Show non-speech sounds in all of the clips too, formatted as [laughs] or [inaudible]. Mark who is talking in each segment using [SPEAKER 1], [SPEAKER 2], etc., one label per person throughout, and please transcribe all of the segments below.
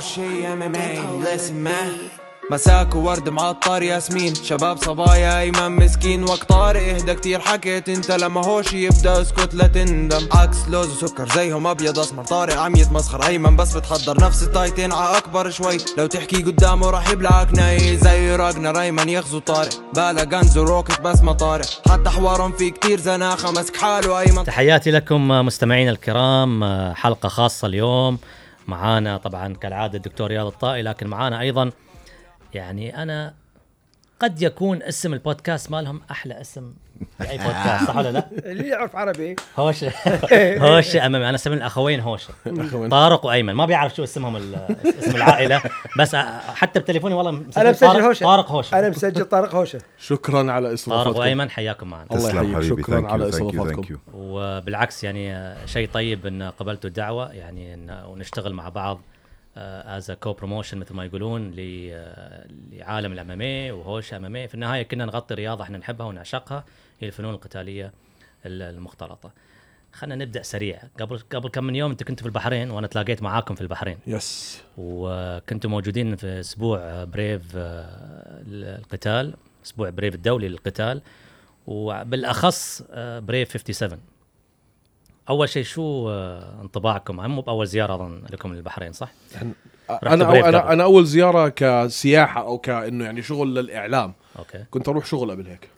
[SPEAKER 1] شي ام ام اي listen man مساك وورد معطر ياسمين شباب صبايا ايمن مسكين وقت طارق اهدى كتير حكيت انت لما هوش يبدا اسكت لا تندم عكس لوز وسكر زيهم ابيض اسمر طارق عم يتمسخر ايمن بس بتحضر نفس التايتين ع اكبر شوي لو تحكي قدامه راح يبلعك ناي زي راجنا ريمان يغزو طارق بالا غنز وروكت بس ما طارق حتى حوارهم في كتير زناخه مسك حاله ايمن
[SPEAKER 2] تحياتي لكم مستمعينا الكرام حلقة خاصة اليوم معانا طبعا كالعادة الدكتور رياض الطائي لكن معانا أيضا يعني أنا قد يكون اسم البودكاست مالهم أحلى اسم لأي بودكاست صح ولا لا؟
[SPEAKER 3] اللي يعرف عربي
[SPEAKER 2] هوشة هوشة أمامي أنا اسمي الأخوين هوشة طارق وأيمن ما بيعرف شو اسمهم ال- اسم العائلة بس أ- حتى بتليفوني والله مسجل
[SPEAKER 3] انا مسجل
[SPEAKER 2] طارق-
[SPEAKER 3] هوشه
[SPEAKER 2] طارق هوشة
[SPEAKER 3] انا مسجل
[SPEAKER 2] [laughs]
[SPEAKER 3] طارق هوشه
[SPEAKER 4] شكرا على استضافتكم
[SPEAKER 2] طارق وأيمن حياكم معنا
[SPEAKER 4] الله
[SPEAKER 5] تسلم
[SPEAKER 4] يحييك،
[SPEAKER 5] حبيبي
[SPEAKER 4] شكراً
[SPEAKER 5] ثانك
[SPEAKER 4] على
[SPEAKER 5] يو ثانك يو ثانك
[SPEAKER 4] استضافتكم.
[SPEAKER 5] يو
[SPEAKER 2] وبالعكس يعني شيء طيب ان قبلتوا الدعوه يعني ان ونشتغل مع بعض آه، از كو بروموشن مثل ما يقولون ل- آه، لعالم الامامي وهوش امامي في النهايه كنا نغطي رياضه احنا نحبها ونعشقها هي الفنون القتاليه ال- المختلطه خلينا نبدا سريع قبل قبل كم من يوم انت كنت في البحرين وانا تلاقيت معاكم في البحرين
[SPEAKER 4] يس
[SPEAKER 2] وكنتوا موجودين في اسبوع بريف آه، القتال اسبوع بريف الدولي للقتال وبالاخص آه، بريف 57 اول شيء شو آه، انطباعكم مو باول زياره اظن لكم للبحرين صح؟ رحت
[SPEAKER 4] انا
[SPEAKER 2] بريف
[SPEAKER 4] أو
[SPEAKER 2] قبل.
[SPEAKER 4] انا انا اول زياره كسياحه او كانه يعني شغل للاعلام
[SPEAKER 2] اوكي
[SPEAKER 4] كنت اروح شغل قبل هيك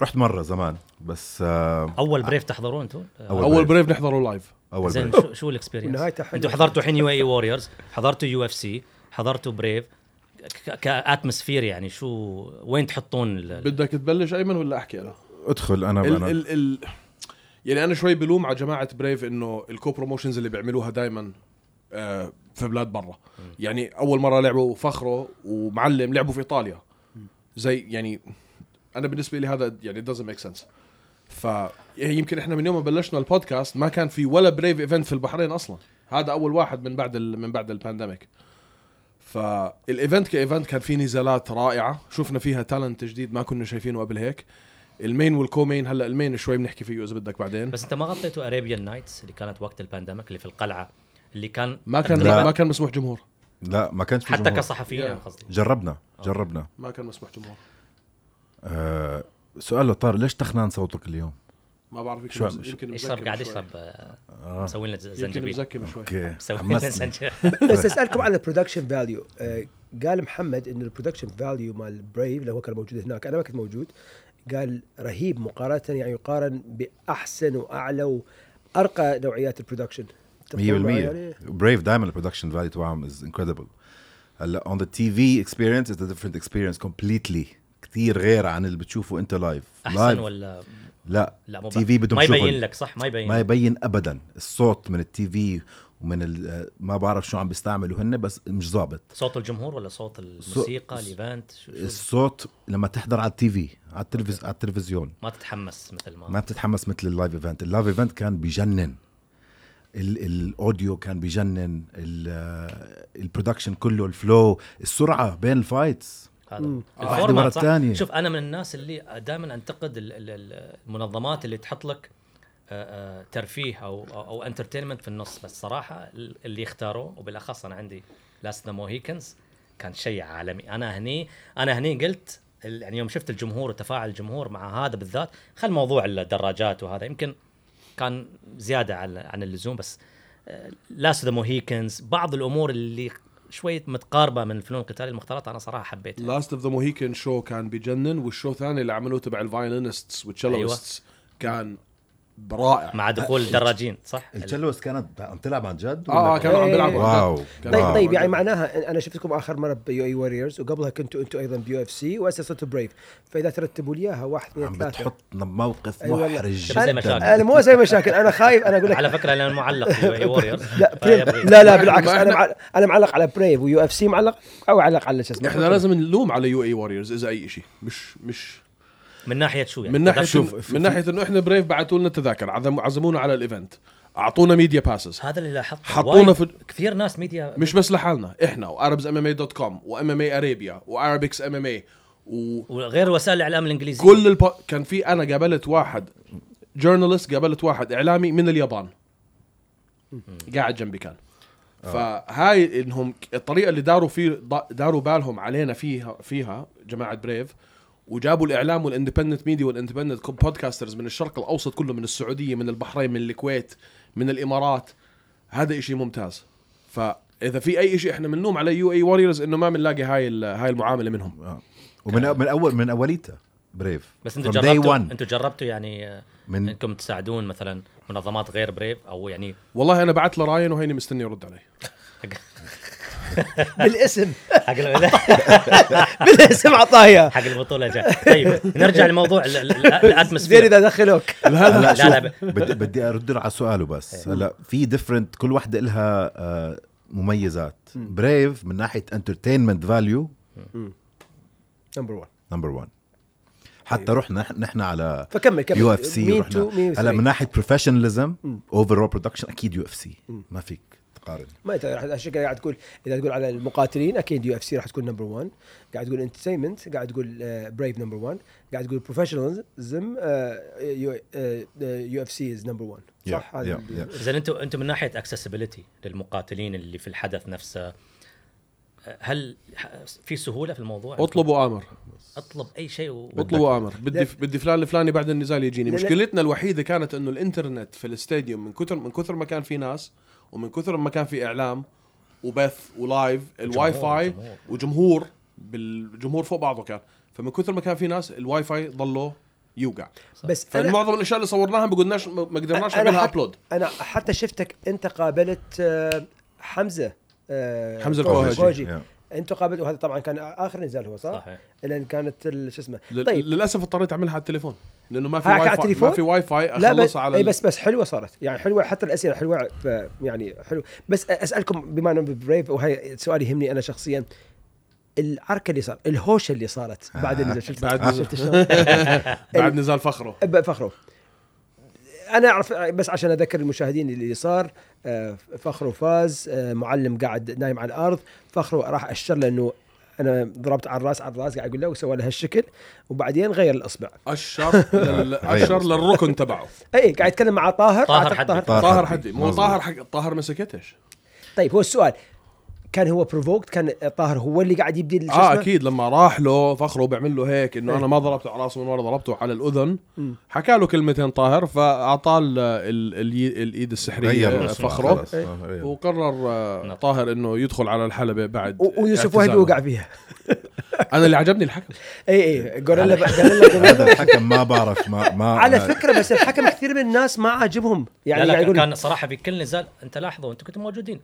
[SPEAKER 5] رحت مره زمان بس آه،
[SPEAKER 2] اول بريف تحضرون انتم؟
[SPEAKER 5] أول
[SPEAKER 4] اول
[SPEAKER 5] بريف.
[SPEAKER 4] بريف نحضره لايف
[SPEAKER 5] اول
[SPEAKER 2] آه، زين
[SPEAKER 5] بريف.
[SPEAKER 2] شو شو الاكسبيرينس؟
[SPEAKER 3] ونهايته حلوه
[SPEAKER 2] انتم حضرتوا الحين يو اي ووريرز E حضرتوا يو اف سي حضرتوا بريف كاتموسفير يعني شو وين تحطون ال-
[SPEAKER 4] بدك تبلش ايمن ولا احكي انا؟
[SPEAKER 5] ادخل انا
[SPEAKER 4] ال
[SPEAKER 5] انا
[SPEAKER 4] ال ال يعني انا شوي بلوم على جماعه بريف انه الكو بروموشنز اللي بيعملوها دائما في بلاد برا يعني اول مره لعبوا فخره ومعلم لعبوا في ايطاليا زي يعني انا بالنسبه لي هذا يعني doesn't make sense ف يعني يمكن احنا من يوم ما بلشنا البودكاست ما كان في ولا بريف ايفنت في البحرين اصلا هذا اول واحد من بعد ال من بعد البانديميك فالايفنت كايفنت كان فيه نزالات رائعه شفنا فيها تالنت جديد ما كنا شايفينه قبل هيك المين والكومين هلا المين شوي بنحكي فيه اذا بدك بعدين
[SPEAKER 2] بس انت ما غطيتوا اريبيان نايتس اللي كانت وقت البانديميك اللي في القلعه اللي كان
[SPEAKER 4] ما كان
[SPEAKER 5] لا.
[SPEAKER 4] ما كان مسموح جمهور
[SPEAKER 5] لا ما كانش في
[SPEAKER 2] حتى
[SPEAKER 5] جمهور.
[SPEAKER 2] كصحفيين
[SPEAKER 4] Yeah.
[SPEAKER 2] انا قصدي
[SPEAKER 5] جربنا جربنا
[SPEAKER 4] ما كان مسموح جمهور
[SPEAKER 5] آه، سؤال لطار ليش تخنان صوتك اليوم؟
[SPEAKER 4] ما بعرف يمكن
[SPEAKER 5] شو-
[SPEAKER 4] مز-
[SPEAKER 5] شو-
[SPEAKER 4] يمكن
[SPEAKER 2] يشرب
[SPEAKER 4] مزكم
[SPEAKER 2] قاعد
[SPEAKER 4] شوي.
[SPEAKER 2] يشرب آه، مسوي لنا ز-
[SPEAKER 4] يمكن
[SPEAKER 2] زنجبيل
[SPEAKER 4] مزكم شوي
[SPEAKER 5] اوكي
[SPEAKER 2] مسوي لنا [laughs]
[SPEAKER 5] حمسني.
[SPEAKER 2] زنجبيل
[SPEAKER 5] [laughs]
[SPEAKER 3] بس اسالكم على البرودكشن فاليو آه، قال محمد انه البرودكشن فاليو مال بريف اللي هو كان موجود هناك انا ما كنت موجود قال رهيب مقارنه يعني يقارن باحسن واعلى وارقى نوعيات يعني؟ البرودكشن
[SPEAKER 5] 100% بريف دائما البرودكشن فاليو تبعهم از انكريدبل هلا اون ذا تي في اكسبيرينس از ديفرنت اكسبيرينس كومبليتلي كثير غير عن اللي بتشوفه انت لايف
[SPEAKER 2] احسن ولا إيه.
[SPEAKER 5] لا
[SPEAKER 2] لا مو
[SPEAKER 5] تي في بدهم
[SPEAKER 2] ما
[SPEAKER 5] شغل.
[SPEAKER 2] يبين لك صح ما يبين
[SPEAKER 5] ما
[SPEAKER 2] لك.
[SPEAKER 5] يبين ابدا الصوت من التي في ومن ال- آه، ما بعرف شو عم بيستعملوا هن بس مش ظابط
[SPEAKER 2] صوت الجمهور ولا صوت الموسيقى الايفنت شو- شو-
[SPEAKER 5] الصوت لما تحضر على التي في على التلفز... على التلفزيون
[SPEAKER 2] ما تتحمس مثل ما
[SPEAKER 5] ما بتتحمس مثل اللايف ايفنت اللايف ايفنت كان بيجنن ال- الاوديو كان بيجنن ال- البرودكشن كله الفلو السرعه بين الفايتس
[SPEAKER 2] هذا
[SPEAKER 5] واحدة مرة
[SPEAKER 2] الفورمات صح
[SPEAKER 5] تانية.
[SPEAKER 2] شوف انا من الناس اللي دائما انتقد ال- ال- ال- المنظمات اللي تحط لك آه، آه، ترفيه او او, أو انترتينمنت في النص بس صراحه ال- اللي اختاروه وبالاخص انا عندي لاست ذا موهيكنز كان شيء عالمي انا هني انا هني قلت ال- يعني يوم شفت الجمهور وتفاعل الجمهور مع هذا بالذات خل موضوع الدراجات وهذا يمكن كان زياده عن عن اللزوم بس لاست ذا موهيكنز بعض الامور اللي شويه متقاربه من الفنون القتاليه المختلطه انا صراحه حبيتها
[SPEAKER 4] لاست اوف ذا موهيكن شو كان بجنن والشو الثاني اللي عملوه تبع الفايلينستس والتشيلوستس كان رائع
[SPEAKER 2] مع دخول الدراجين صح؟
[SPEAKER 5] التشلوس كانت عم تلعب عن جد
[SPEAKER 4] اه اه كانوا عم
[SPEAKER 2] إيه.
[SPEAKER 4] بيلعبوا عن جد.
[SPEAKER 5] واو
[SPEAKER 4] كان-
[SPEAKER 3] طيب
[SPEAKER 5] واو.
[SPEAKER 3] طيب يعني معناها أن- انا شفتكم اخر مره بيو اي ووريرز وقبلها كنتوا انتوا ايضا بيو اف سي واسسوا بريف فاذا ترتبوا لي اياها واحد اثنين
[SPEAKER 5] عم
[SPEAKER 3] ثلاثه
[SPEAKER 5] بتحطنا بموقف
[SPEAKER 3] أي والله.
[SPEAKER 5] محرج
[SPEAKER 2] شو زي
[SPEAKER 5] جدا
[SPEAKER 2] مشاكل.
[SPEAKER 3] انا مو اسوي مشاكل انا خايف انا اقول لك
[SPEAKER 2] على فكره لانه معلق في ووريرز
[SPEAKER 3] لا بريف
[SPEAKER 2] طيب.
[SPEAKER 3] لا لا بالعكس انا مع... انا معلق على بريف ويو اف سي معلق او علق على شو اسمه
[SPEAKER 4] احنا لازم نلوم على يو اي واريورز اذا اي شيء مش مش
[SPEAKER 2] من ناحيه شو يعني؟
[SPEAKER 4] من ناحيه
[SPEAKER 5] شوف،
[SPEAKER 4] شوف
[SPEAKER 5] في-
[SPEAKER 4] من ناحيه انه احنا بريف بعثوا لنا تذاكر عزم- عزمونا على الايفنت اعطونا ميديا باسز
[SPEAKER 2] هذا اللي لاحظته
[SPEAKER 4] حطونا
[SPEAKER 2] وايد
[SPEAKER 4] في-
[SPEAKER 2] كثير ناس ميديا
[SPEAKER 4] مش بس لحالنا احنا واربز ام ام اي دوت كوم وام ام اي ارابيا وارابكس ام ام اي وكل
[SPEAKER 2] وغير وسائل الاعلام الانجليزيه
[SPEAKER 4] الب... كان في انا قابلت واحد جورنالست قابلت واحد اعلامي من اليابان قاعد جنبي كان فهاي انهم الطريقه اللي داروا فيه داروا بالهم علينا فيها فيها جماعه بريف وجابوا الاعلام والاندبندنت ميديا والاندبندنت بودكاسترز من الشرق الاوسط كله من السعوديه من البحرين من الكويت من الامارات هذا إشي ممتاز فاذا في اي إشي احنا بنلوم على يو اي واريورز انه ما بنلاقي هاي ال- هاي المعامله منهم
[SPEAKER 5] ومن من اول من اوليتها بريف
[SPEAKER 2] بس انتم
[SPEAKER 5] From day
[SPEAKER 2] جربتوا
[SPEAKER 5] one.
[SPEAKER 2] انتم جربتوا يعني آه،
[SPEAKER 5] من-
[SPEAKER 2] انكم تساعدون مثلا منظمات غير بريف او يعني
[SPEAKER 4] والله انا بعت لراين وهيني مستني يرد علي
[SPEAKER 3] [laughs] بالاسم
[SPEAKER 2] حق ال-
[SPEAKER 3] بالاسم
[SPEAKER 2] [laughs]
[SPEAKER 3] عطايا
[SPEAKER 2] حق البطوله جاي طيب نرجع لموضوع ال- ال- ال-
[SPEAKER 3] زين
[SPEAKER 2] الاتموسفير
[SPEAKER 3] اذا دخلوك
[SPEAKER 5] هلا
[SPEAKER 2] لا، لا، إيه.
[SPEAKER 5] شوف بدي بدي ارد على سؤاله بس هلا في ديفرنت كل وحده إلها آه، مميزات بريف من ناحيه انترتينمنت فاليو
[SPEAKER 3] نمبر 1
[SPEAKER 5] نمبر 1 حتى رحنا نحن على
[SPEAKER 3] فكمل كمل
[SPEAKER 5] يو اف سي
[SPEAKER 3] مين تو مين
[SPEAKER 5] رحنا هلا من
[SPEAKER 3] ثري.
[SPEAKER 5] ناحيه بروفيشناليزم اوفر اول برودكشن اكيد يو اف سي ما فيك تقارن
[SPEAKER 3] ما انت راح- عشان كده قاعد تقول اذا تقول على المقاتلين اكيد يو اف سي راح تكون نمبر 1 قاعد تقول انترتينمنت قاعد تقول آه، بريف نمبر 1 قاعد تقول آه، بروفيشنالزم يو اف سي از نمبر 1 صح
[SPEAKER 5] Yeah,
[SPEAKER 3] هذا
[SPEAKER 5] yeah,
[SPEAKER 3] ال-
[SPEAKER 5] yeah.
[SPEAKER 2] اذا انتم انتم من ناحيه اكسسبيلتي للمقاتلين اللي في الحدث نفسه آه، هل ح- في سهوله في الموضوع؟
[SPEAKER 4] اطلبوا امر
[SPEAKER 2] اطلب اي شيء و...
[SPEAKER 4] اطلبوا امر بدي
[SPEAKER 3] لا.
[SPEAKER 4] بدي فلان الفلاني بعد النزال يجيني
[SPEAKER 3] لا، لا.
[SPEAKER 4] مشكلتنا الوحيده كانت انه الانترنت في الاستاديوم من كثر من كثر ما كان في ناس ومن كثر ما كان في اعلام وبث ولايف الواي فاي
[SPEAKER 2] جمهور.
[SPEAKER 4] وجمهور بالجمهور فوق بعضه كان فمن كثر ما كان في ناس الواي فاي ضلوا يوقع
[SPEAKER 3] بس انا
[SPEAKER 4] فمعظم الاشياء اللي صورناها ما قدرناش ما قدرناش
[SPEAKER 3] أنا
[SPEAKER 4] نعملها
[SPEAKER 3] حت-
[SPEAKER 4] ابلود
[SPEAKER 3] انا حتى شفتك انت قابلت آه، حمزه آه،
[SPEAKER 4] حمزة
[SPEAKER 3] كوجي-
[SPEAKER 4] الكوهجي.
[SPEAKER 3] كوجي.
[SPEAKER 5] Yeah.
[SPEAKER 3] انت قابلت وهذا طبعا كان اخر نزال هو صح؟
[SPEAKER 2] صحيح
[SPEAKER 3] لان كانت ال- شو اسمه طيب
[SPEAKER 4] للاسف اضطريت اعملها على التليفون لانه ما في
[SPEAKER 3] هاك على
[SPEAKER 4] واي فاي
[SPEAKER 3] التليفون؟
[SPEAKER 4] ما في واي فاي
[SPEAKER 3] لا بس
[SPEAKER 4] اخلصها على
[SPEAKER 3] على
[SPEAKER 4] ال-
[SPEAKER 3] بس بس حلوه صارت يعني حلوه حتى الاسئله حلوه ف- يعني حلو بس اسالكم بما انه بريف وهي سؤال يهمني انا شخصيا العركه اللي صار الهوشه اللي صارت بعد النزال شفت
[SPEAKER 4] بعد-
[SPEAKER 3] شفت شلون؟
[SPEAKER 4] بعد
[SPEAKER 3] إيه.
[SPEAKER 4] نزال فخره
[SPEAKER 3] أبا فخرو انا اعرف بس عشان اذكر المشاهدين اللي صار آه، فخرو فاز آه، معلم قاعد نايم على الارض فخرو راح اشر لانه انا ضربت على الراس على الراس قاعد اقول له وسوى له هالشكل وبعدين غير الاصبع
[SPEAKER 4] اشر [laughs] لل- اشر للركن تبعه
[SPEAKER 3] اي إيه، قاعد يتكلم مع طاهر
[SPEAKER 2] طاهر
[SPEAKER 3] أعتقد
[SPEAKER 2] حدد.
[SPEAKER 4] طاهر
[SPEAKER 5] حدي.
[SPEAKER 4] حدي مو
[SPEAKER 5] مظبوط.
[SPEAKER 4] طاهر حق طاهر ما سكتش
[SPEAKER 3] طيب هو السؤال كان هو بروفوكت كان طاهر هو اللي قاعد يبدي شو
[SPEAKER 4] اه
[SPEAKER 3] اسمه؟
[SPEAKER 4] اكيد لما راح له فخره بيعمل له هيك انه
[SPEAKER 3] إيه.
[SPEAKER 4] انا ما ضربته على راسه من ورا ضربته على الاذن حكى له كلمتين طاهر فاعطاه ال- ال- الي- الايد السحريه
[SPEAKER 5] اسمه
[SPEAKER 4] فخره
[SPEAKER 5] خلص. آه، غير.
[SPEAKER 4] وقرر آه، طاهر انه يدخل على الحلبه بعد
[SPEAKER 3] نعم. و- ويوسف وهبي
[SPEAKER 4] اعتزاله.
[SPEAKER 3] وقع فيها إيه،
[SPEAKER 4] انا اللي
[SPEAKER 3] [laughs]
[SPEAKER 4] عجبني الحكم
[SPEAKER 3] اي اي جوريلا جوريلا
[SPEAKER 5] [laughs] هذا الحكم ما بعرف ما ما
[SPEAKER 3] على
[SPEAKER 5] ما-
[SPEAKER 3] فكره بس الحكم كثير من الناس ما عاجبهم يعني
[SPEAKER 2] يعني لا
[SPEAKER 3] قاعد
[SPEAKER 2] لا
[SPEAKER 3] يقول
[SPEAKER 2] كان صراحه في كل نزال انت لاحظوا انتم كنتم موجودين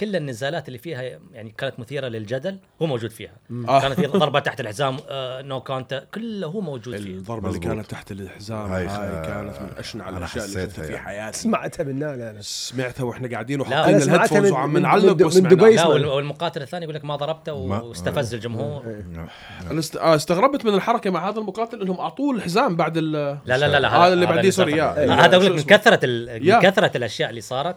[SPEAKER 2] كل النزالات اللي فيها يعني كانت مثيره للجدل هو موجود فيها
[SPEAKER 4] آه.
[SPEAKER 2] كانت في ضربه تحت الحزام آه نو كانت كله هو موجود فيه
[SPEAKER 4] الضربه اللي
[SPEAKER 5] مظبوط.
[SPEAKER 4] كانت تحت الحزام
[SPEAKER 5] هاي
[SPEAKER 4] هاي
[SPEAKER 5] خ-
[SPEAKER 4] كانت من اشنع
[SPEAKER 5] أنا
[SPEAKER 4] الاشياء اللي
[SPEAKER 5] حسيتها
[SPEAKER 4] شفتها في
[SPEAKER 5] يعني.
[SPEAKER 4] حياتي
[SPEAKER 3] سمعتها من هنا لا، لا.
[SPEAKER 4] سمعتها واحنا قاعدين
[SPEAKER 2] أنا
[SPEAKER 4] وحاطين
[SPEAKER 3] سمعتها
[SPEAKER 4] الهيدفونز
[SPEAKER 3] من-
[SPEAKER 4] وعم
[SPEAKER 3] من-
[SPEAKER 4] نعلق
[SPEAKER 3] من
[SPEAKER 4] وسمعناها
[SPEAKER 3] دبي.
[SPEAKER 2] لا
[SPEAKER 3] اسمع.
[SPEAKER 2] وال- والمقاتل الثاني يقول لك ما ضربته
[SPEAKER 5] ما-
[SPEAKER 2] واستفز الجمهور
[SPEAKER 4] انا است... آه استغربت من الحركه مع هذا المقاتل انهم اعطوه الحزام بعد ال
[SPEAKER 2] لا لا لا, لا
[SPEAKER 4] هذا اللي بعديه
[SPEAKER 2] نزال
[SPEAKER 4] سوري يا-
[SPEAKER 2] ثاني.
[SPEAKER 4] يا-
[SPEAKER 2] هذا
[SPEAKER 4] شو
[SPEAKER 2] اقول لك من
[SPEAKER 4] اسمه؟
[SPEAKER 2] كثره ال-
[SPEAKER 4] يا.
[SPEAKER 2] من كثره الاشياء اللي صارت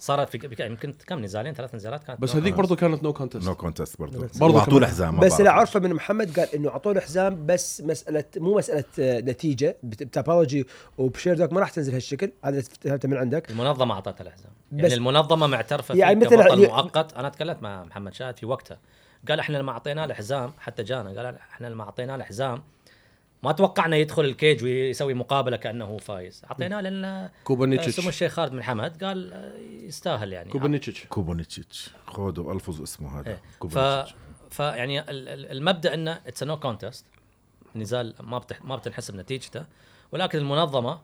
[SPEAKER 2] صارت في يعني يمكن كم نزالين ثلاث نزالات كانت
[SPEAKER 4] بس هذيك برضه كانت نو كونتست
[SPEAKER 5] نو كونتست برضه
[SPEAKER 4] برضو
[SPEAKER 5] برضه على
[SPEAKER 4] كمان.
[SPEAKER 5] حزام ما
[SPEAKER 3] بس اللي
[SPEAKER 5] بعرف.
[SPEAKER 3] اعرفه من محمد قال انه اعطوه الحزام بس مساله مو مساله آه، نتيجه بت- بتابولوجي وبشير دوك ما راح تنزل هالشكل هذا اللي فهمته من عندك
[SPEAKER 2] المنظمه اعطتها الحزام
[SPEAKER 3] بس-
[SPEAKER 2] يعني المنظمه معترفه
[SPEAKER 3] يعني
[SPEAKER 2] يعني
[SPEAKER 3] مثل-
[SPEAKER 2] مثل كبطل
[SPEAKER 3] ي-
[SPEAKER 2] مؤقت انا تكلمت مع محمد شاهد في وقتها قال احنا لما اعطيناه الحزام حتى جانا قال احنا لما اعطيناه الحزام ما توقعنا يدخل الكيج ويسوي مقابله كانه هو فايز اعطيناه لان سمو
[SPEAKER 4] كوبانيتش
[SPEAKER 2] الشيخ خالد بن حمد قال آه، يستاهل يعني
[SPEAKER 4] كوبانيتش
[SPEAKER 5] كوبونيتش خذوا الفظوا اسمه هذا
[SPEAKER 2] إيه. ف
[SPEAKER 5] كوبونيتش
[SPEAKER 2] ف يعني ال- ال- المبدا انه اتس نو كونتست نزال ما بتح... ما بتنحسب نتيجته ولكن المنظمه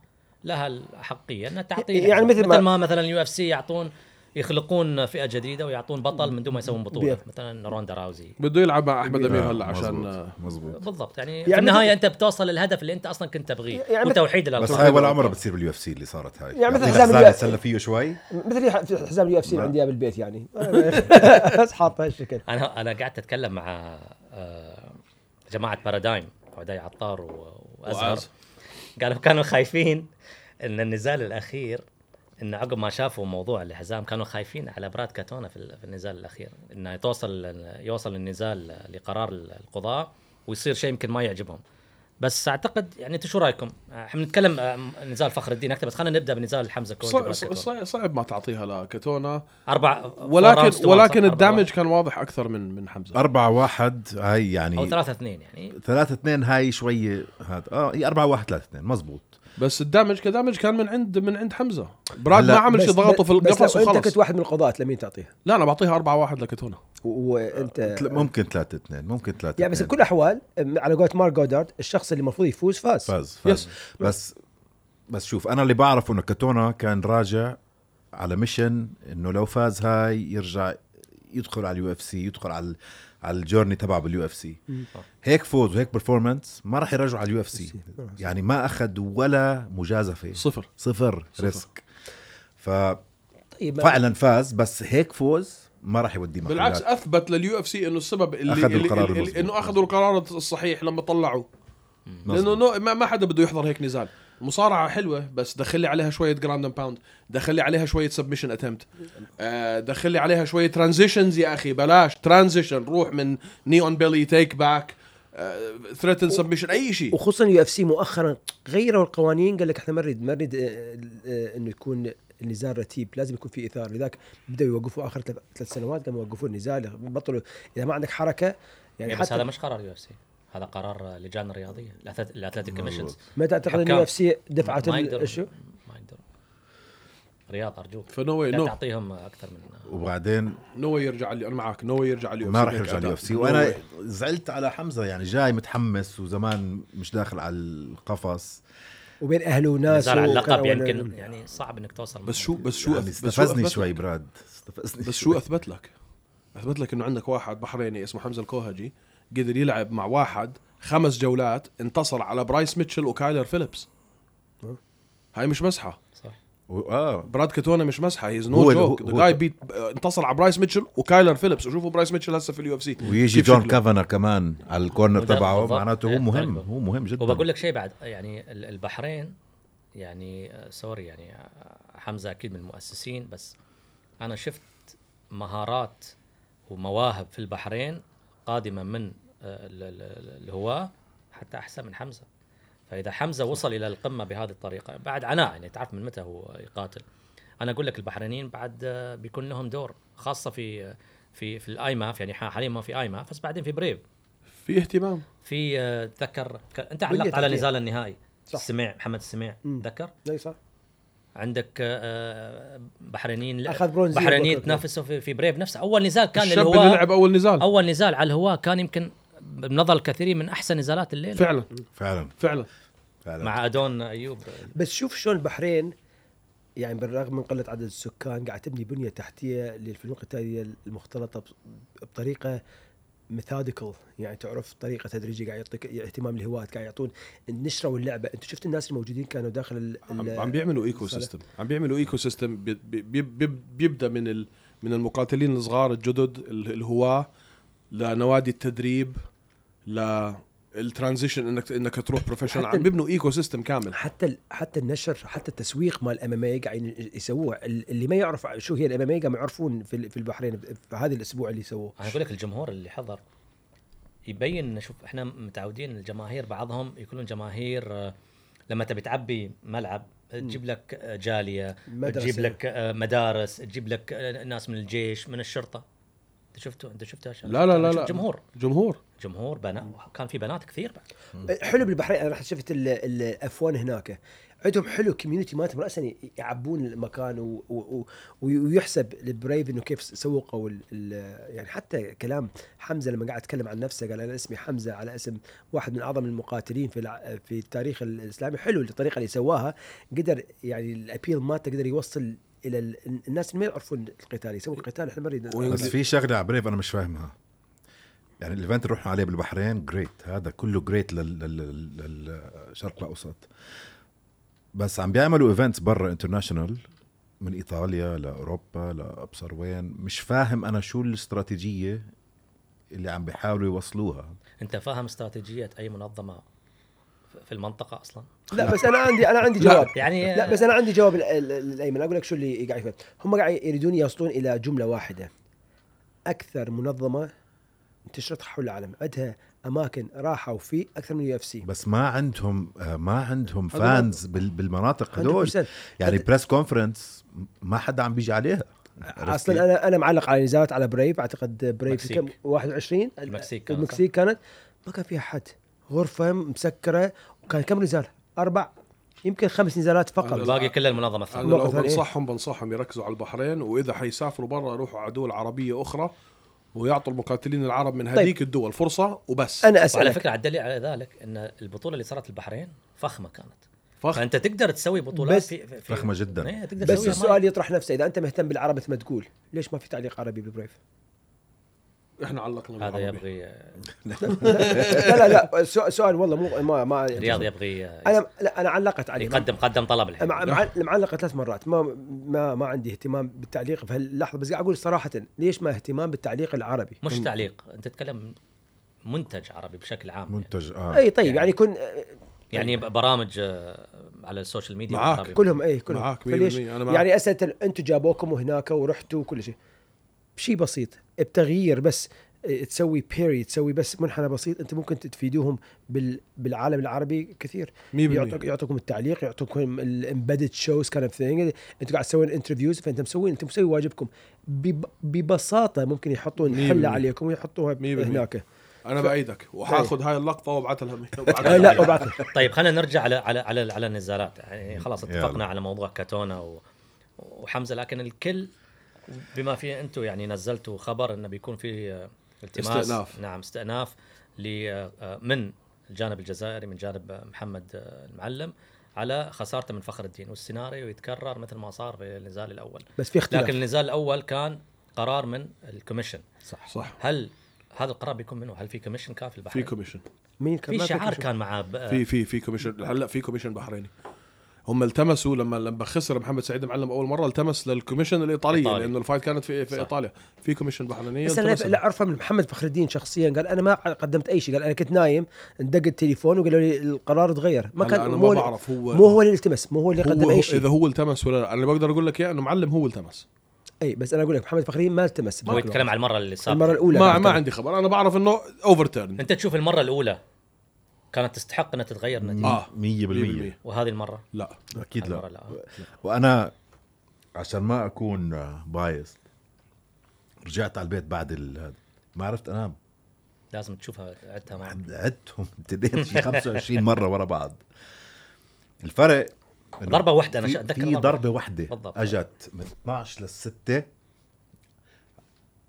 [SPEAKER 2] لها الحقيه انها تعطيه
[SPEAKER 3] يعني
[SPEAKER 2] الحزام.
[SPEAKER 3] مثل ما-
[SPEAKER 2] مثل ما مثلا اليو اف سي يعطون يخلقون فئه جديده ويعطون بطل من دون ما يسوون بطوله
[SPEAKER 3] بيه.
[SPEAKER 2] مثلا روندا راوزي
[SPEAKER 4] بده يلعب مع احمد امير هلا عشان
[SPEAKER 5] مزبوط,
[SPEAKER 4] آه،
[SPEAKER 5] مزبوط.
[SPEAKER 2] بالضبط يعني,
[SPEAKER 3] مثل-
[SPEAKER 2] في النهايه انت بتوصل للهدف اللي انت اصلا كنت تبغيه
[SPEAKER 3] يعني مثل-
[SPEAKER 2] يعني وتوحيد
[SPEAKER 5] بس
[SPEAKER 2] الالقاب
[SPEAKER 5] هاي ولا عمرها بتصير باليو اف سي اللي صارت هاي
[SPEAKER 3] يعني مثل
[SPEAKER 5] يعطيك
[SPEAKER 3] حزام
[SPEAKER 5] حزام
[SPEAKER 3] اليو إف سي.
[SPEAKER 5] يتسلى فيه شوي
[SPEAKER 3] مثل ح- حزام اليو اف سي اللي عندي إياه بالبيت يعني بس حاطه هالشكل
[SPEAKER 2] انا انا قعدت اتكلم مع آه، جماعه بارادايم عدي عطار و- وازهر
[SPEAKER 4] وأز.
[SPEAKER 2] قالوا كانوا خايفين ان النزال الاخير ان عقب ما شافوا موضوع الحزام كانوا خايفين على براد كاتونا في ال- في النزال الاخير انه توصل يوصل النزال لقرار القضاء ويصير شيء يمكن ما يعجبهم بس اعتقد يعني انتم شو رايكم؟ احنا بنتكلم آه، نزال فخر الدين اكثر بس خلينا نبدا بنزال حمزه كوجي
[SPEAKER 4] صعب,
[SPEAKER 2] وكاتون.
[SPEAKER 4] صعب, صعب ما تعطيها لكتونا
[SPEAKER 2] اربع فور rounds
[SPEAKER 4] ولكن
[SPEAKER 2] طبعاً، صح؟
[SPEAKER 4] ولكن
[SPEAKER 2] أربع
[SPEAKER 4] الدامج
[SPEAKER 2] واحد.
[SPEAKER 4] كان واضح اكثر من من حمزه
[SPEAKER 5] أربعة واحد هاي يعني
[SPEAKER 2] او ثلاثة اثنين يعني
[SPEAKER 5] ثلاثة اثنين هاي شوية هذا اه هي أربعة واحد ثلاثة اثنين مزبوط
[SPEAKER 4] بس الدامج كدامج كان من عند من عند حمزه براد
[SPEAKER 5] هلا،
[SPEAKER 4] ما عمل شيء
[SPEAKER 3] بس-
[SPEAKER 4] ضغطه في
[SPEAKER 3] بس لو
[SPEAKER 4] القفص
[SPEAKER 3] انت
[SPEAKER 4] وخلص
[SPEAKER 3] كنت واحد من القضاة لمين تعطيها؟
[SPEAKER 4] لا انا بعطيها 4 1 لكتونا
[SPEAKER 3] و- وانت
[SPEAKER 5] أه، تل- ممكن ثلاثة اثنين ممكن ثلاثة
[SPEAKER 3] يعني بس
[SPEAKER 5] اثنين.
[SPEAKER 3] بكل الاحوال أم، على قولة مارك جودارد الشخص اللي المفروض يفوز فاز
[SPEAKER 5] فاز فاز بس بس شوف انا اللي بعرفه انه كاتونا كان راجع على ميشن انه لو فاز هاي يرجع يدخل على اليو اف سي يدخل على على الجورني تبعه باليو اف سي هيك فوز وهيك برفورمانس ما راح يرجعوا على اليو اف سي يعني ما اخذ ولا مجازفه
[SPEAKER 4] صفر
[SPEAKER 5] صفر ريسك ففعلا
[SPEAKER 3] طيب
[SPEAKER 5] فاز بس هيك فوز ما راح يوديه محلات
[SPEAKER 4] بالعكس اثبت لليو اف سي انه السبب اللي
[SPEAKER 5] أخذوا
[SPEAKER 4] اللي-
[SPEAKER 5] القرار
[SPEAKER 4] اللي-
[SPEAKER 5] المظبوط.
[SPEAKER 4] انه اخذوا القرار الصحيح لما طلعوا لانه
[SPEAKER 5] مظبوط.
[SPEAKER 4] نو ما, ما حدا بده يحضر هيك نزال مصارعه حلوه بس دخل لي عليها شويه جراوند اند باوند دخل لي عليها شويه سبمشن اتمت دخل لي آه، عليها شويه ترانزيشنز يا اخي بلاش ترانزيشن روح من نيون بيلي تيك باك آه، ثريتن سبمشن اي شيء
[SPEAKER 3] وخصوصا اليو اف سي مؤخرا غيروا القوانين قال لك احنا ما نريد ما نريد آه، آه، انه يكون النزال رتيب لازم يكون في اثاره لذلك بداوا يوقفوا اخر ثلاث ثلاث سنوات قاموا يوقفوا النزال بطلوا اذا ما عندك حركه يعني
[SPEAKER 2] يعني بس
[SPEAKER 3] حتى
[SPEAKER 2] هذا مش قرار يو اف سي هذا قرار لجان رياضيه الأثلت- الاثليتيك كوميشنز
[SPEAKER 3] ما تعتقد ان
[SPEAKER 2] حكام.
[SPEAKER 3] اليو اف سي دفعت
[SPEAKER 2] ما يقدروا-
[SPEAKER 3] شو
[SPEAKER 2] ما يقدروا رياض ارجوك
[SPEAKER 4] فنو واي
[SPEAKER 2] لا
[SPEAKER 4] نو
[SPEAKER 2] تعطيهم اكثر من
[SPEAKER 5] وبعدين
[SPEAKER 4] نو واي يرجع علي انا معك نو واي يرجع على اليو
[SPEAKER 5] ما راح يرجع اليو اف سي وانا زعلت على حمزه يعني جاي متحمس وزمان مش داخل على القفص
[SPEAKER 3] وبين اهله وناس
[SPEAKER 2] نزال على
[SPEAKER 3] وكذا
[SPEAKER 2] اللقب
[SPEAKER 3] ولا-
[SPEAKER 2] يمكن يعني صعب انك توصل
[SPEAKER 4] بس شو بس شو
[SPEAKER 5] يعني
[SPEAKER 4] أث- بس شو
[SPEAKER 5] استفزني
[SPEAKER 4] أثبت
[SPEAKER 5] شوي براد استفزني
[SPEAKER 4] بس
[SPEAKER 5] شوي.
[SPEAKER 4] شو اثبت لك؟ اثبت لك انه عندك واحد بحريني اسمه حمزه الكوهجي قدر يلعب مع واحد خمس جولات انتصر على برايس ميتشل وكايلر فيليبس هاي مش مسحه
[SPEAKER 2] صح
[SPEAKER 5] و- اه
[SPEAKER 4] براد كاتونا مش مسحه هيز نو
[SPEAKER 5] هو-
[SPEAKER 4] جوك
[SPEAKER 5] هو-
[SPEAKER 4] ذا جاي بيت انتصر على برايس ميتشل وكايلر فيليبس وشوفوا برايس ميتشل هسه في اليو اف سي
[SPEAKER 5] ويجي جون كافانا كمان على الكورنر
[SPEAKER 2] مدرب
[SPEAKER 5] تبعه
[SPEAKER 2] بالضبط.
[SPEAKER 5] معناته هو
[SPEAKER 2] إيه،
[SPEAKER 5] مهم
[SPEAKER 2] بالضبط.
[SPEAKER 5] هو مهم جدا
[SPEAKER 2] وبقول لك شيء بعد يعني ال- البحرين يعني آه، سوري يعني آه، حمزه اكيد من المؤسسين بس انا شفت مهارات ومواهب في البحرين قادمه من آه، ال- ال- ال- الهواه حتى احسن من حمزه فاذا حمزه وصل الى القمه بهذه الطريقه بعد عناء يعني تعرف من متى هو يقاتل انا اقول لك البحرينيين بعد آه، بيكون لهم دور خاصه في آه، في في الايماف يعني حاليا ما في ايماف بس بعدين في بريف
[SPEAKER 4] في اهتمام
[SPEAKER 2] في آه، تذكر ك- انت
[SPEAKER 3] بنية
[SPEAKER 2] علقت على
[SPEAKER 3] تحتية.
[SPEAKER 2] نزال النهائي
[SPEAKER 3] صح.
[SPEAKER 2] السميع محمد السميع
[SPEAKER 3] مم.
[SPEAKER 2] تذكر
[SPEAKER 3] اي صح
[SPEAKER 2] عندك آه، بحرينيين
[SPEAKER 3] أخذ برونز
[SPEAKER 2] بحرينيين
[SPEAKER 3] بكرة.
[SPEAKER 2] تنافسوا في, في بريف نفسه اول نزال كان
[SPEAKER 4] الشاب اللي
[SPEAKER 2] للهواء
[SPEAKER 4] لعب اول نزال
[SPEAKER 2] اول نزال على الهواء كان يمكن بنظر الكثيرين من احسن نزالات الليله
[SPEAKER 4] فعلا
[SPEAKER 5] فعلا
[SPEAKER 4] فعلا
[SPEAKER 5] فعلا
[SPEAKER 2] مع ادون ايوب
[SPEAKER 3] بس شوف شلون البحرين يعني بالرغم من قله عدد السكان قاعد تبني بنيه تحتيه للفنون القتاليه المختلطه بط- بطريقه ميثوديكال يعني تعرف طريقه تدريجيه قاعد يعطيك اهتمام الهواة قاعد يعطون نشروا اللعبه انت شفت الناس الموجودين كانوا داخل ال-
[SPEAKER 4] عم,
[SPEAKER 3] ال-
[SPEAKER 4] عم بيعملوا ايكو سيستم عم بيعملوا ايكو سيستم بي- بي- بي- بي- بيبدا من ال من المقاتلين الصغار الجدد ال- الهواه لنوادي التدريب للترانزيشن انك انك تروح بروفيشنال
[SPEAKER 3] حتى
[SPEAKER 4] عم بيبنوا ايكو سيستم كامل
[SPEAKER 3] حتى ال- حتى النشر حتى التسويق مال الام ام اي قاعدين يسووه ال- اللي ما يعرف شو هي الام ام اي قاموا يعرفون في ال- في البحرين في هذا الاسبوع اللي سووه
[SPEAKER 2] انا اقول لك الجمهور اللي حضر يبين انه شوف احنا متعودين الجماهير بعضهم يكونون جماهير آه، لما تبي تعبي ملعب تجيب لك آه، جاليه
[SPEAKER 3] مدرسة.
[SPEAKER 2] تجيب لك آه، مدارس تجيب لك آه، ناس من الجيش من الشرطه انت شفتوا انت شفتها شباب؟
[SPEAKER 4] لا لا
[SPEAKER 2] أنا
[SPEAKER 4] لا
[SPEAKER 2] شفت
[SPEAKER 4] لا
[SPEAKER 2] جمهور
[SPEAKER 4] جمهور
[SPEAKER 2] جمهور بنات كان في بنات كثير بعد
[SPEAKER 3] حلو بالبحرين انا رحت شفت ال- ال- الافوان هناك عندهم حلو كوميونتي مالتهم راسا يعبون المكان و و و ويحسب للبريف انه كيف سوقوا ال- ال- يعني حتى كلام حمزه لما قاعد اتكلم عن نفسه قال انا اسمي حمزه على اسم واحد من اعظم المقاتلين في الع- في التاريخ الاسلامي حلو الطريقه اللي سواها قدر يعني الابيل مالته قدر يوصل الى ال- الناس اللي ما يعرفون القتال يسوون القتال احنا ما نريد
[SPEAKER 5] بس في شغله على بريف انا مش فاهمها يعني الايفنت اللي رحنا عليه بالبحرين جريت هذا كله جريت للشرق الاوسط بس عم بيعملوا ايفنتس برا انترناشونال من ايطاليا لاوروبا لابصر وين مش فاهم انا شو الاستراتيجيه اللي عم بيحاولوا يوصلوها
[SPEAKER 2] انت فاهم استراتيجيه اي منظمه ف- في المنطقه اصلا
[SPEAKER 3] لا بس انا عندي انا عندي جواب
[SPEAKER 2] يعني
[SPEAKER 3] لا بس انا عندي جواب ال- ال- ال- الايمن اقول لك شو اللي قاعد يفهم هم قاعد يريدون يصلون الى جمله واحده اكثر منظمه انتشرت حول العالم عندها اماكن راحوا فيه اكثر من اليو اف سي
[SPEAKER 5] بس ما عندهم آه، ما عندهم
[SPEAKER 3] هدول-
[SPEAKER 5] فانز بال- بالمناطق هدول
[SPEAKER 3] 100%
[SPEAKER 5] يعني
[SPEAKER 3] هد-
[SPEAKER 5] بريس كونفرنس ما حدا عم بيجي عليها عرفت كيف؟
[SPEAKER 3] اصلا انا انا معلق على نزالات على بريف اعتقد بريف
[SPEAKER 2] المكسيك.
[SPEAKER 3] كم 21
[SPEAKER 2] المكسيك كانت،
[SPEAKER 3] المكسيك كانت ما كان فيها حد غرفه مسكره وكان كم نزال؟ اربع يمكن خمس نزالات فقط
[SPEAKER 2] آه، باقي كل المنظمه الثانيه
[SPEAKER 4] انا يعني لو
[SPEAKER 3] نقطة ثانية.
[SPEAKER 4] بنصحهم بنصحهم يركزوا على البحرين واذا حيسافروا برا يروحوا على دول عربيه اخرى ويعطوا المقاتلين العرب
[SPEAKER 3] طيب.
[SPEAKER 4] من هذيك الدول فرصه وبس
[SPEAKER 3] انا
[SPEAKER 2] وعلى
[SPEAKER 3] اسالك
[SPEAKER 2] فكره على الدليل على ذلك ان البطوله اللي صارت البحرين فخمه كانت
[SPEAKER 4] فخ
[SPEAKER 2] فانت تقدر تسوي بطولات
[SPEAKER 3] بس-
[SPEAKER 2] في, في في-
[SPEAKER 5] فخمة جداً.
[SPEAKER 2] إيه، تقدر
[SPEAKER 3] بس
[SPEAKER 2] تسويها. ما-
[SPEAKER 3] السؤال يطرح نفسه اذا انت مهتم بالعرب مثل ما تقول ليش ما في تعليق عربي ببريف؟
[SPEAKER 4] احنا علقنا
[SPEAKER 2] هذا
[SPEAKER 4] بالعربي
[SPEAKER 2] يبغي
[SPEAKER 3] لا لا لا سؤ- سؤال والله مو ما ما
[SPEAKER 2] رياض يبغي آه،
[SPEAKER 3] انا لا انا علقت عليه
[SPEAKER 2] يقدم قدم طلب الحين
[SPEAKER 3] مع مع- معلقه ثلاث مرات ما ما ما عندي اهتمام بالتعليق في هاللحظه بس قاعد اقول صراحه ليش ما اهتمام بالتعليق العربي؟
[SPEAKER 2] مش تعليق انت تتكلم منتج عربي بشكل عام
[SPEAKER 5] منتج اه
[SPEAKER 3] اي طيب يعني كن
[SPEAKER 2] يعني, يعني برامج آه، على السوشيال ميديا
[SPEAKER 4] معاك.
[SPEAKER 2] العربي.
[SPEAKER 3] كلهم اي كلهم
[SPEAKER 4] معاك
[SPEAKER 3] فليش
[SPEAKER 4] 100% أنا معك.
[SPEAKER 3] يعني اسئله ال- انتوا جابوكم وهناك ورحتوا وكل شيء شيء بسيط بتغيير بس إيه، تسوي بيري تسوي بس منحنى بسيط انت ممكن تفيدوهم بال بالعالم العربي كثير
[SPEAKER 4] 100%.
[SPEAKER 3] يعطوك يعطوكم التعليق يعطوكم الامبيدد شوز كان ثينج انتوا قاعد تسوون انترفيوز فانت مسوين انت مسوي واجبكم بب- ببساطه ممكن يحطون
[SPEAKER 4] 100%.
[SPEAKER 3] حله عليكم ويحطوها
[SPEAKER 4] 100%.
[SPEAKER 3] هناك
[SPEAKER 4] انا بايدك وحاخذ هاي اللقطه وابعثها لهم
[SPEAKER 3] آه، إيه. [laughs] لا وبعد
[SPEAKER 2] طيب خلينا نرجع على على على, على النزالات يعني خلاص
[SPEAKER 5] يلا.
[SPEAKER 2] اتفقنا على موضوع كاتونا و... وحمزه لكن الكل بما فيه انتم يعني نزلتوا خبر انه بيكون في آه، التماس
[SPEAKER 4] استئناف.
[SPEAKER 2] نعم استئناف ل آه، آه، من الجانب الجزائري من جانب آه، محمد آه، المعلم على خسارته من فخر الدين والسيناريو يتكرر مثل ما صار في النزال الاول
[SPEAKER 3] بس في اختلاف
[SPEAKER 2] لكن النزال الاول كان قرار من الكوميشن
[SPEAKER 4] صح صح
[SPEAKER 2] هل هذا القرار بيكون منه هل في كوميشن كان في
[SPEAKER 4] في
[SPEAKER 2] البحرين
[SPEAKER 4] كوميشن
[SPEAKER 3] مين كان
[SPEAKER 2] في
[SPEAKER 3] ما
[SPEAKER 2] شعار
[SPEAKER 3] شو-
[SPEAKER 2] كان معاه ب-
[SPEAKER 4] في في في كوميشن هلا في كوميشن بحريني هم التمسوا لما لما خسر محمد سعيد معلم اول مره التمس للكوميشن الايطاليه
[SPEAKER 2] إيطالي.
[SPEAKER 4] لانه الفايت كانت في, في
[SPEAKER 2] صح.
[SPEAKER 4] ايطاليا في كوميشن بحرينيه
[SPEAKER 3] بس انا
[SPEAKER 4] التمس
[SPEAKER 3] لا اعرفه من محمد فخر الدين شخصيا قال انا ما قدمت اي شيء قال انا كنت نايم ندق التليفون وقالوا لي القرار تغير ما
[SPEAKER 4] هلا
[SPEAKER 3] كان
[SPEAKER 4] أنا
[SPEAKER 3] مو
[SPEAKER 4] ما بعرف هو-
[SPEAKER 3] مو هو اللي التمس مو هو اللي قدم
[SPEAKER 4] هو
[SPEAKER 3] اي شيء
[SPEAKER 4] اذا هو التمس ولا لا انا اللي بقدر اقول لك اياه انه معلم هو التمس
[SPEAKER 3] اي بس انا اقول لك محمد فخر الدين ما التمس
[SPEAKER 2] آه، هو
[SPEAKER 3] بذاك
[SPEAKER 2] يتكلم على المره اللي
[SPEAKER 3] الوقت. المره
[SPEAKER 2] سابقه
[SPEAKER 3] الاولى
[SPEAKER 4] ما
[SPEAKER 3] كان
[SPEAKER 4] ما
[SPEAKER 3] التمس.
[SPEAKER 4] عندي خبر انا بعرف انه اوفر تيرن
[SPEAKER 2] انت تشوف المره الاولى كانت تستحق انها تتغير النتيجه
[SPEAKER 4] اه
[SPEAKER 5] 100%
[SPEAKER 4] 100%
[SPEAKER 2] وهذه المره
[SPEAKER 4] لا
[SPEAKER 5] اكيد
[SPEAKER 2] المره
[SPEAKER 5] لا
[SPEAKER 2] لا
[SPEAKER 5] وانا عشان ما اكون بايس رجعت على البيت بعد ال- هذا. ما عرفت انام
[SPEAKER 2] لازم تشوفها عدتها معك
[SPEAKER 5] عدتهم ابتديت شي 25 مره ورا بعض الفرق إنه
[SPEAKER 2] ضربه واحده انا
[SPEAKER 5] في-
[SPEAKER 2] شا- اتذكر
[SPEAKER 5] في ضربه واحده
[SPEAKER 2] بالضبط.
[SPEAKER 5] اجت من 12 لل 6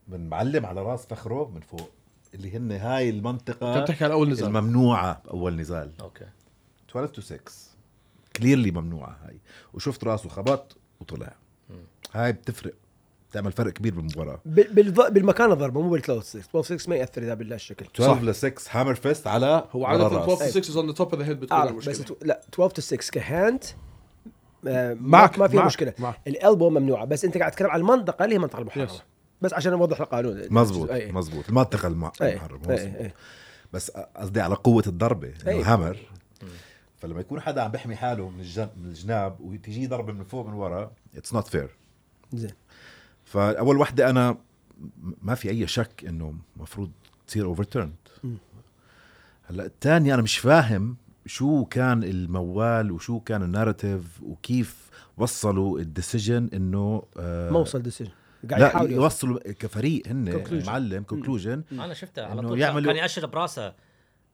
[SPEAKER 5] من معلم على راس فخره من فوق اللي هن هاي
[SPEAKER 3] آه.
[SPEAKER 4] انت
[SPEAKER 5] المنطقه
[SPEAKER 4] بتحكي على اول نزال
[SPEAKER 5] الممنوعه باول نزال
[SPEAKER 2] اوكي
[SPEAKER 5] 12 تو 6 كليرلي ممنوعه هاي وشفت راسه خبط وطلع هاي بتفرق بتعمل فرق كبير بالمباراه
[SPEAKER 3] بال- بالض- بالمكان الضربه مو بال 12 6 12 6 ما ياثر اذا بالله الشكل
[SPEAKER 5] 12 ل 6 هامر فيست على
[SPEAKER 4] هو
[SPEAKER 5] على
[SPEAKER 4] عاده 12
[SPEAKER 5] الراس
[SPEAKER 4] 6 is on the top of the head بتكون
[SPEAKER 3] اعرف طيب. آه، بس
[SPEAKER 4] المشكله
[SPEAKER 3] تو- لا 12 تو 6 كهاند آه، ما-
[SPEAKER 4] معك-
[SPEAKER 3] ما في
[SPEAKER 4] معك-
[SPEAKER 3] مشكله
[SPEAKER 4] معك.
[SPEAKER 3] الالبو ممنوعه بس انت قاعد تتكلم على المنطقه اللي هي منطقه المحرمه
[SPEAKER 4] Yes.
[SPEAKER 3] بس عشان نوضح القانون
[SPEAKER 5] مزبوط
[SPEAKER 3] أي.
[SPEAKER 5] مزبوط المنطقه الم-
[SPEAKER 3] أي.
[SPEAKER 5] المحرمه
[SPEAKER 3] أي.
[SPEAKER 5] مزبوط.
[SPEAKER 3] أي.
[SPEAKER 5] بس قصدي على قوه الضربه
[SPEAKER 3] أي.
[SPEAKER 5] انه هامر فلما يكون حدا عم بيحمي حاله من الجن... من الجناب وتجي ضربه من فوق من ورا اتس نوت فير
[SPEAKER 3] زين
[SPEAKER 5] فاول وحده انا م- ما في اي شك انه مفروض تصير اوفرتيرند هلا الثانيه انا مش فاهم شو كان الموال وشو كان الناراتيف وكيف وصلوا الديسيجن انه آه
[SPEAKER 3] ما وصل ديسيجن قاعد
[SPEAKER 5] لا
[SPEAKER 3] يحاول يوصل.
[SPEAKER 5] يوصلوا كفريق هن
[SPEAKER 3] يعني Conclusion.
[SPEAKER 5] معلم كونكلوجن
[SPEAKER 2] انا شفته على
[SPEAKER 5] إنه
[SPEAKER 2] طول
[SPEAKER 5] يعملوا-
[SPEAKER 2] كان ياشر براسه آه،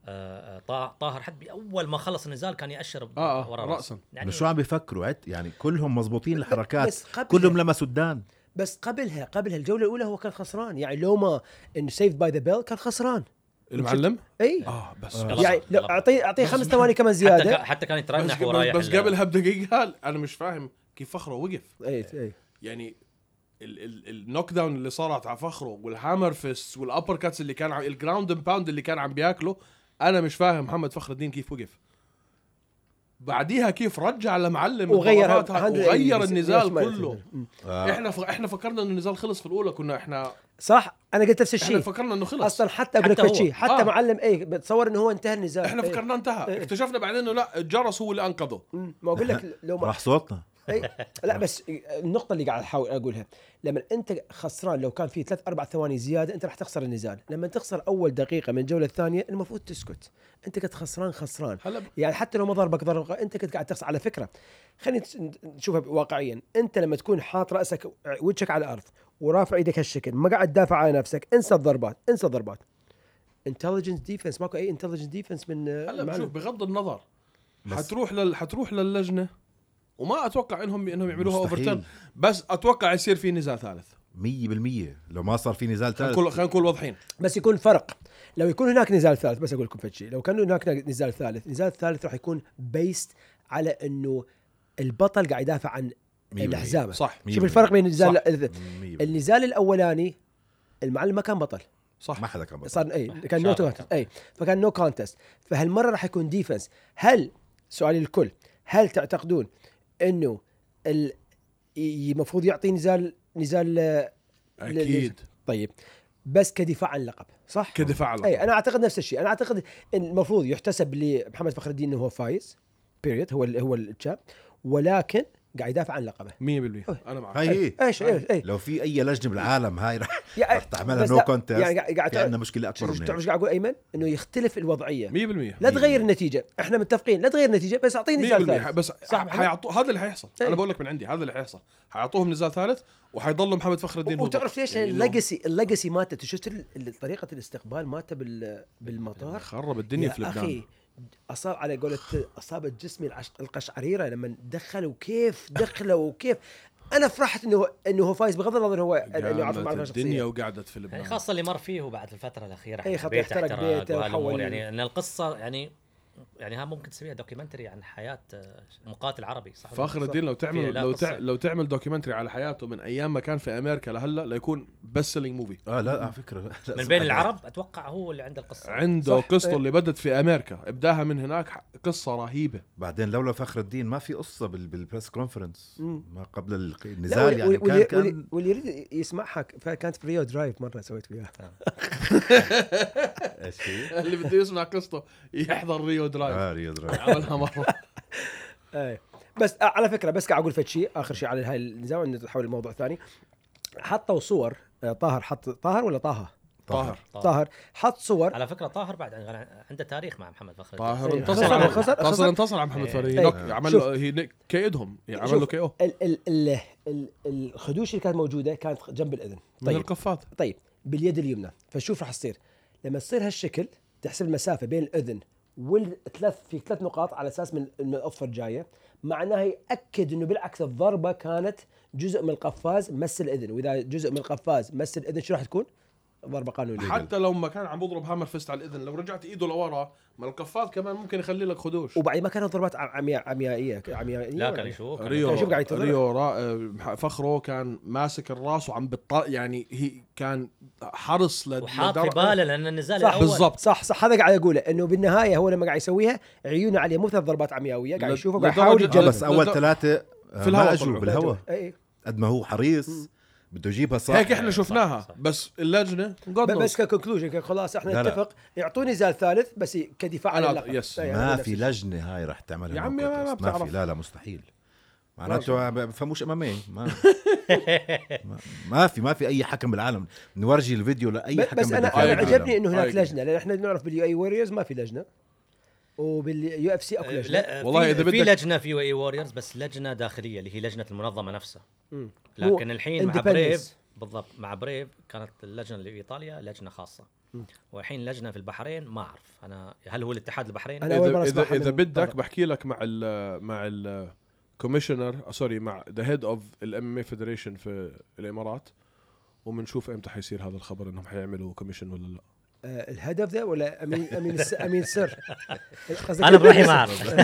[SPEAKER 2] آه، طا- طاهر حتى اول ما خلص النزال كان ياشر ب-
[SPEAKER 4] آه، آه،
[SPEAKER 2] ورا يعني
[SPEAKER 4] رأساً.
[SPEAKER 2] راسه
[SPEAKER 5] انه شو عم بيفكروا عت- يعني كلهم مزبوطين الحركات
[SPEAKER 3] يعني بس يعني. قبل-
[SPEAKER 5] كلهم لمسوا الدان
[SPEAKER 3] بس قبلها قبلها الجوله الاولى هو كان خسران يعني لو ما انه سيف باي ذا بيل كان خسران
[SPEAKER 4] المعلم
[SPEAKER 3] اي
[SPEAKER 4] اه بس
[SPEAKER 2] آه.
[SPEAKER 4] بس-
[SPEAKER 3] يعني لو اعطيه اعطيه خمس ثواني كمان
[SPEAKER 2] حتى كا-
[SPEAKER 3] زياده
[SPEAKER 2] حتى كان
[SPEAKER 4] بس,
[SPEAKER 2] يترنح ورايح
[SPEAKER 4] بس
[SPEAKER 2] ال-
[SPEAKER 4] قبلها بدقيقه انا مش فاهم كيف فخره وقف
[SPEAKER 3] اي اي
[SPEAKER 4] يعني ال- ال- النوك داون اللي صارت على فخره والهامر فيست والابر كاتس اللي كان عم الجراوند اند باوند اللي كان عم بياكله انا مش فاهم محمد فخر الدين كيف وقف بعديها كيف رجع لمعلم
[SPEAKER 3] وغير
[SPEAKER 4] انضباطاتها وغير النزال كله
[SPEAKER 5] آه.
[SPEAKER 4] احنا ف... احنا فكرنا انه النزال خلص في الاولى كنا احنا
[SPEAKER 3] صح انا قلت نفس
[SPEAKER 4] احنا
[SPEAKER 3] الشيء
[SPEAKER 4] فكرنا انه خلص
[SPEAKER 3] اصلا حتى ابن
[SPEAKER 2] حتى هو.
[SPEAKER 3] كوتشي حتى
[SPEAKER 4] آه.
[SPEAKER 3] معلم اي بتصور انه هو انتهى النزال
[SPEAKER 4] احنا
[SPEAKER 3] إيه.
[SPEAKER 4] فكرنا انتهى اكتشفنا بعدين انه لا الجرس هو اللي انقذه
[SPEAKER 3] مم. ما اقول لك لو ما
[SPEAKER 5] راح صوتنا
[SPEAKER 3] أي. لا بس النقطة اللي قاعد احاول اقولها لما انت خسران لو كان في ثلاث اربع ثواني زيادة انت راح تخسر النزال، لما تخسر اول دقيقة من الجولة الثانية المفروض تسكت، انت كنت خسران خسران،
[SPEAKER 4] هلا ب-
[SPEAKER 3] يعني حتى لو ما ضربك ضربة انت كنت قاعد تخسر على فكرة خلينا نشوفها واقعيا، انت لما تكون حاط راسك وجهك على الارض ورافع ايدك هالشكل، ما قاعد تدافع على نفسك، انسى الضربات، انسى الضربات. انتليجنس ديفنس ماكو اي انتليجنس ديفنس من آه،
[SPEAKER 4] هلا
[SPEAKER 3] معنا.
[SPEAKER 4] بشوف بغض النظر
[SPEAKER 5] بس-
[SPEAKER 4] حتروح لل... حتروح للجنه وما اتوقع انهم انهم يعملوها
[SPEAKER 5] مستحيل.
[SPEAKER 4] اوفرتيرن بس اتوقع يصير في نزال ثالث
[SPEAKER 5] 100% لو ما صار في نزال
[SPEAKER 4] خلينا
[SPEAKER 5] ثالث
[SPEAKER 4] نكون خلينا نكون واضحين
[SPEAKER 3] بس يكون فرق لو يكون هناك نزال ثالث بس اقول لكم فد شيء لو كان هناك نزال ثالث النزال الثالث راح يكون بيست على انه البطل قاعد يدافع عن
[SPEAKER 5] مية بالمية.
[SPEAKER 3] الحزامه
[SPEAKER 4] صح
[SPEAKER 5] مية
[SPEAKER 3] شوف
[SPEAKER 5] بالمية.
[SPEAKER 3] الفرق بين النزال
[SPEAKER 4] صح.
[SPEAKER 3] ال-
[SPEAKER 5] مية بالمية.
[SPEAKER 3] النزال الاولاني المعلم ما كان بطل
[SPEAKER 4] صح
[SPEAKER 5] ما حدا كان بطل.
[SPEAKER 3] صار اي كان نو
[SPEAKER 2] شارك.
[SPEAKER 3] كونتست اي فكان نو كونتست فهالمره راح يكون ديفنس هل سؤالي للكل هل تعتقدون انه ال- ي- المفروض يعطي نزال نزال آه، لل-
[SPEAKER 4] اكيد
[SPEAKER 3] طيب بس كدفاع عن اللقب صح؟
[SPEAKER 4] كدفاع على
[SPEAKER 3] اي انا اعتقد نفس الشيء انا اعتقد ان المفروض يحتسب لمحمد فخر الدين انه هو فايز بيريد هو ال هو الشاب ولكن قاعد يدافع عن لقبه إيه،
[SPEAKER 4] 100% انا معك
[SPEAKER 5] هاي هي
[SPEAKER 3] ايش ايش ايش
[SPEAKER 5] لو في اي لجنه بالعالم هاي رح
[SPEAKER 3] يا-
[SPEAKER 5] رح تعملها
[SPEAKER 3] بس
[SPEAKER 5] نو
[SPEAKER 3] لا،
[SPEAKER 5] كونتست
[SPEAKER 3] يعني قاعد- قاعد-
[SPEAKER 5] في عندنا مشكله اكبر من
[SPEAKER 3] تعرف
[SPEAKER 5] هيك.
[SPEAKER 3] ايش قاعد اقول ايمن؟ انه يختلف الوضعيه
[SPEAKER 4] 100%
[SPEAKER 3] لا تغير النتيجه احنا متفقين لا تغير النتيجه بس اعطيني نزال
[SPEAKER 4] 100%
[SPEAKER 3] ثالث
[SPEAKER 4] بس
[SPEAKER 3] صح
[SPEAKER 4] صح
[SPEAKER 3] محمد؟
[SPEAKER 4] حيعطوا هذا اللي حيحصل
[SPEAKER 3] إيه.
[SPEAKER 4] انا بقول لك من عندي هذا اللي حيحصل حيعطوهم نزال ثالث وحيضلوا محمد فخر الدين هو
[SPEAKER 3] وتعرف
[SPEAKER 4] البطل.
[SPEAKER 3] ليش
[SPEAKER 4] يعني إنه-
[SPEAKER 3] الليجسي الليجسي مالته أنت شفت ال- ال- طريقه الاستقبال مالته بال- بالمطار
[SPEAKER 4] خرب الدنيا في
[SPEAKER 3] يا
[SPEAKER 4] لبنان
[SPEAKER 3] اخي اصاب على قولة اصابت جسمي العش... القشعريره لما دخلوا كيف دخلوا وكيف انا فرحت انه انه هو فايز بغض النظر هو انه عرف
[SPEAKER 4] قامت
[SPEAKER 3] معرفه شخصيه
[SPEAKER 4] الدنيا وقعدت في
[SPEAKER 2] يعني
[SPEAKER 4] لبنان
[SPEAKER 2] خاصه اللي مر فيه بعد الفتره الاخيره
[SPEAKER 3] نعم. أي
[SPEAKER 2] حق
[SPEAKER 3] خط
[SPEAKER 2] بيته
[SPEAKER 3] احترق بيته
[SPEAKER 2] وهالامور
[SPEAKER 3] وحول-
[SPEAKER 2] يعني ان القصه يعني يعني ها ممكن تسويها دوكيومنتري عن حياه آه، مقاتل عربي صح
[SPEAKER 4] فخر الدين لو
[SPEAKER 2] في-
[SPEAKER 3] إيه،
[SPEAKER 4] تعمل
[SPEAKER 2] لا
[SPEAKER 4] لو
[SPEAKER 2] قصة.
[SPEAKER 4] تع... لو تعمل دوكيومنتري على حياته من ايام ما كان في امريكا لهلا ليكون بس سيلينج موفي
[SPEAKER 5] اه لا على فكره لا،
[SPEAKER 2] من
[SPEAKER 5] صح.
[SPEAKER 2] بين العرب اتوقع هو اللي عنده القصه
[SPEAKER 4] عنده
[SPEAKER 3] صح.
[SPEAKER 4] قصته
[SPEAKER 3] إيه.
[SPEAKER 4] اللي بدت في امريكا ابداها من هناك ح- قصه رهيبه
[SPEAKER 5] بعدين لولا فخر الدين ما في قصه بال- بالبريس كونفرنس
[SPEAKER 3] مم.
[SPEAKER 5] ما قبل الق-
[SPEAKER 3] لا،
[SPEAKER 5] النزال
[SPEAKER 3] واللي-
[SPEAKER 5] يعني
[SPEAKER 3] واللي-
[SPEAKER 5] كان كان
[SPEAKER 3] واللي- واللي يريد يسمعها ك- فكانت في ريو درايف مره سويت وياها
[SPEAKER 5] ايش
[SPEAKER 4] [laughs]
[SPEAKER 5] هي؟
[SPEAKER 4] اللي بده يسمع قصته يحضر ريو درايف
[SPEAKER 5] اه ريو درايف.
[SPEAKER 4] عملها مره
[SPEAKER 3] ايه بس آه، على فكره بس قاعد اقول فد شيء اخر شيء على هاي النزاع نتحول لموضوع ثاني حطوا صور آه، طاهر حط طاهر ولا طه؟
[SPEAKER 4] طاهر
[SPEAKER 2] طاهر.
[SPEAKER 3] طاهر حط صور
[SPEAKER 2] على فكره طاهر بعد عن- عنده تاريخ مع محمد فخر الدين.
[SPEAKER 4] طاهر
[SPEAKER 3] إيه.
[SPEAKER 4] انتصر
[SPEAKER 3] خسر-
[SPEAKER 4] على
[SPEAKER 3] خسر-
[SPEAKER 4] انتصر
[SPEAKER 3] خسر.
[SPEAKER 4] انتصر على محمد فريد
[SPEAKER 3] إيه.
[SPEAKER 4] نوك- عمل
[SPEAKER 3] شوف.
[SPEAKER 4] له هي نك- كيدهم عمل له
[SPEAKER 3] شوف،
[SPEAKER 4] كي او
[SPEAKER 3] ال- ال- ال- ال- الخدوش اللي كانت موجوده كانت جنب الاذن
[SPEAKER 4] من القفات
[SPEAKER 3] طيب باليد اليمنى فشوف راح تصير لما تصير هالشكل تحسب المسافه بين الاذن والثلاث في ثلاث نقاط على اساس من انه الاوفر جايه معناها ياكد انه بالعكس الضربه كانت جزء من القفاز مس الاذن واذا جزء من القفاز مس الاذن شو راح تكون؟ ضربه قانونيه
[SPEAKER 4] حتى لو ما كان عم بضرب هامر فيست على الاذن لو رجعت ايده لورا ما القفاض كمان ممكن يخلي لك خدوش
[SPEAKER 3] وبعد ما كانت ضربات عم- عمياء عميائيه عميائيه
[SPEAKER 2] لا
[SPEAKER 3] ولا
[SPEAKER 2] كان
[SPEAKER 3] إيش؟
[SPEAKER 2] يشوف كان
[SPEAKER 4] ريو
[SPEAKER 3] كان شوف قاعد ينتظر.
[SPEAKER 4] ريو را... آه، فخرو كان ماسك الراس وعم بط... يعني هي كان حرص لد...
[SPEAKER 2] وحاط في
[SPEAKER 4] لدر-
[SPEAKER 2] باله لان النزال
[SPEAKER 3] صح
[SPEAKER 2] الاول
[SPEAKER 4] بالضبط.
[SPEAKER 3] صح صح هذا قاعد اقوله انه بالنهايه هو لما قاعد يسويها عيونه عليه مو ثلاث ضربات عمياويه قاعد
[SPEAKER 4] لد-
[SPEAKER 3] يشوفه قاعد
[SPEAKER 4] لدرجة-
[SPEAKER 3] يحاول
[SPEAKER 4] آه،
[SPEAKER 5] آه
[SPEAKER 3] يتجنب إيه.
[SPEAKER 5] بس اول
[SPEAKER 4] بالضبط.
[SPEAKER 5] ثلاثه
[SPEAKER 4] في الهواء
[SPEAKER 5] ما اجوا
[SPEAKER 4] طلعوا.
[SPEAKER 5] بالهواء
[SPEAKER 3] اي
[SPEAKER 5] قد ما هو حريص بده يجيبها صح
[SPEAKER 4] هيك احنا شفناها
[SPEAKER 2] صح.
[SPEAKER 4] بس اللجنه
[SPEAKER 3] ب-
[SPEAKER 4] قضوا
[SPEAKER 3] بس ككونكلوجن خلاص احنا
[SPEAKER 5] لا، لا.
[SPEAKER 3] نتفق يعطوني زال ثالث بس كدفاع
[SPEAKER 4] أنا
[SPEAKER 3] على
[SPEAKER 4] أعط- يس.
[SPEAKER 3] أي، هذا
[SPEAKER 5] ما
[SPEAKER 3] نفس
[SPEAKER 5] في
[SPEAKER 3] الشيء.
[SPEAKER 5] لجنه هاي رح تعملها
[SPEAKER 4] يا
[SPEAKER 5] no
[SPEAKER 4] عمي، ما- ما
[SPEAKER 5] contest. ما
[SPEAKER 4] بتعرف.
[SPEAKER 5] في لا لا مستحيل معناته ما بفهموش امامي ما [laughs] ما- ما في ما في اي حكم بالعالم نورجي الفيديو لاي
[SPEAKER 3] ب-
[SPEAKER 5] حكم
[SPEAKER 3] بس انا
[SPEAKER 5] بدك إياه
[SPEAKER 3] انا
[SPEAKER 4] أي
[SPEAKER 5] بالعالم.
[SPEAKER 3] عجبني انه هناك
[SPEAKER 4] أي.
[SPEAKER 3] لجنه لان احنا نعرف باليو اي ووريرز ما في لجنه وباليو اف سي اكو لجنه
[SPEAKER 2] لا آه،
[SPEAKER 4] والله
[SPEAKER 2] في-
[SPEAKER 4] إذا
[SPEAKER 2] في
[SPEAKER 4] بدك-
[SPEAKER 2] لجنه في اي ووريرز بس لجنه داخليه اللي هي لجنه المنظمه نفسها
[SPEAKER 3] مم.
[SPEAKER 2] لكن الحين مع
[SPEAKER 3] independence.
[SPEAKER 2] بريف بالضبط مع بريف كانت اللجنه اللي بايطاليا لجنه خاصه والحين لجنه في البحرين ما اعرف انا هل هو الاتحاد البحريني
[SPEAKER 3] أنا أول مرة
[SPEAKER 4] اذا اذا,
[SPEAKER 3] أسمعها
[SPEAKER 4] إذا
[SPEAKER 3] من
[SPEAKER 4] بدك
[SPEAKER 3] برا.
[SPEAKER 4] بحكي لك مع ال مع ال كوميشنر سوري مع ذا هيد اوف الام ام فيدريشن في الامارات وبنشوف امتى حيصير هذا الخبر انهم حيعملوا كوميشن ولا لا
[SPEAKER 3] آه، الهدف ذا ولا امين امين الس- امين سر قصدك
[SPEAKER 2] انا بروحي
[SPEAKER 3] [laughs]
[SPEAKER 2] ما اعرف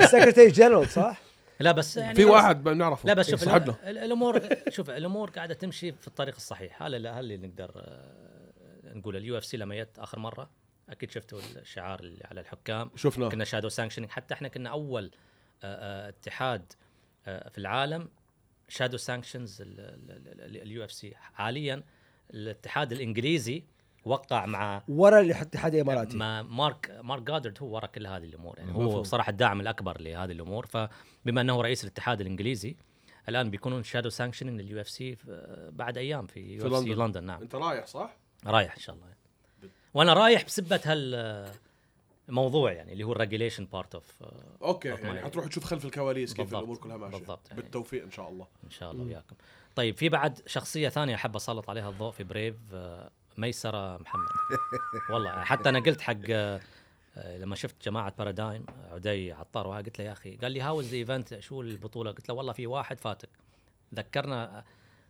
[SPEAKER 3] السكرتري جنرال صح؟
[SPEAKER 2] لا بس يعني
[SPEAKER 4] في واحد بنعرفه
[SPEAKER 2] لا بس شوف
[SPEAKER 4] صاحبنا
[SPEAKER 2] ال- ال- الامور شوف الامور قاعده تمشي في الطريق الصحيح هذا اللي- هذا اللي نقدر آه، نقول اليو اف سي لما جت اخر مره اكيد شفتوا الشعار اللي على الحكام
[SPEAKER 4] شفناه
[SPEAKER 2] كنا شادو سانكشنينج حتى احنا كنا اول آه، آه، اتحاد آه، في العالم شادو سانكشنز اليو اف سي حاليا الاتحاد الانجليزي وقع مع
[SPEAKER 3] ورا الاتحاد الاماراتي
[SPEAKER 2] ما مارك مارك جادرد هو ورا كل هذه الامور يعني
[SPEAKER 4] مفهوم.
[SPEAKER 2] هو صراحه الداعم الاكبر لهذه الامور فبما انه رئيس الاتحاد الانجليزي الان بيكونون شادو سانكشنينج لليو اف سي آه، بعد ايام في يو اف سي
[SPEAKER 4] لندن.
[SPEAKER 2] لندن نعم
[SPEAKER 4] انت رايح صح؟
[SPEAKER 2] رايح ان شاء الله وانا رايح بسبه هال الموضوع يعني اللي هو الريجيليشن بارت اوف
[SPEAKER 4] اوكي
[SPEAKER 2] بالضبط.
[SPEAKER 4] يعني حتروح تشوف خلف الكواليس كيف
[SPEAKER 2] بالضبط.
[SPEAKER 4] الامور كلها ماشيه
[SPEAKER 2] بالضبط، يعني.
[SPEAKER 4] بالتوفيق ان شاء الله
[SPEAKER 2] ان شاء الله وياكم طيب في بعد شخصيه ثانيه احب اسلط عليها الضوء في بريف آه، ميسره
[SPEAKER 4] [laughs]
[SPEAKER 2] محمد والله حتى انا قلت حق آه، آه، لما شفت جماعه بارادايم آه، عدي عطار وها قلت له يا اخي قال لي هاو ذا ايفنت شو البطوله قلت له والله في واحد فاتك ذكرنا آه،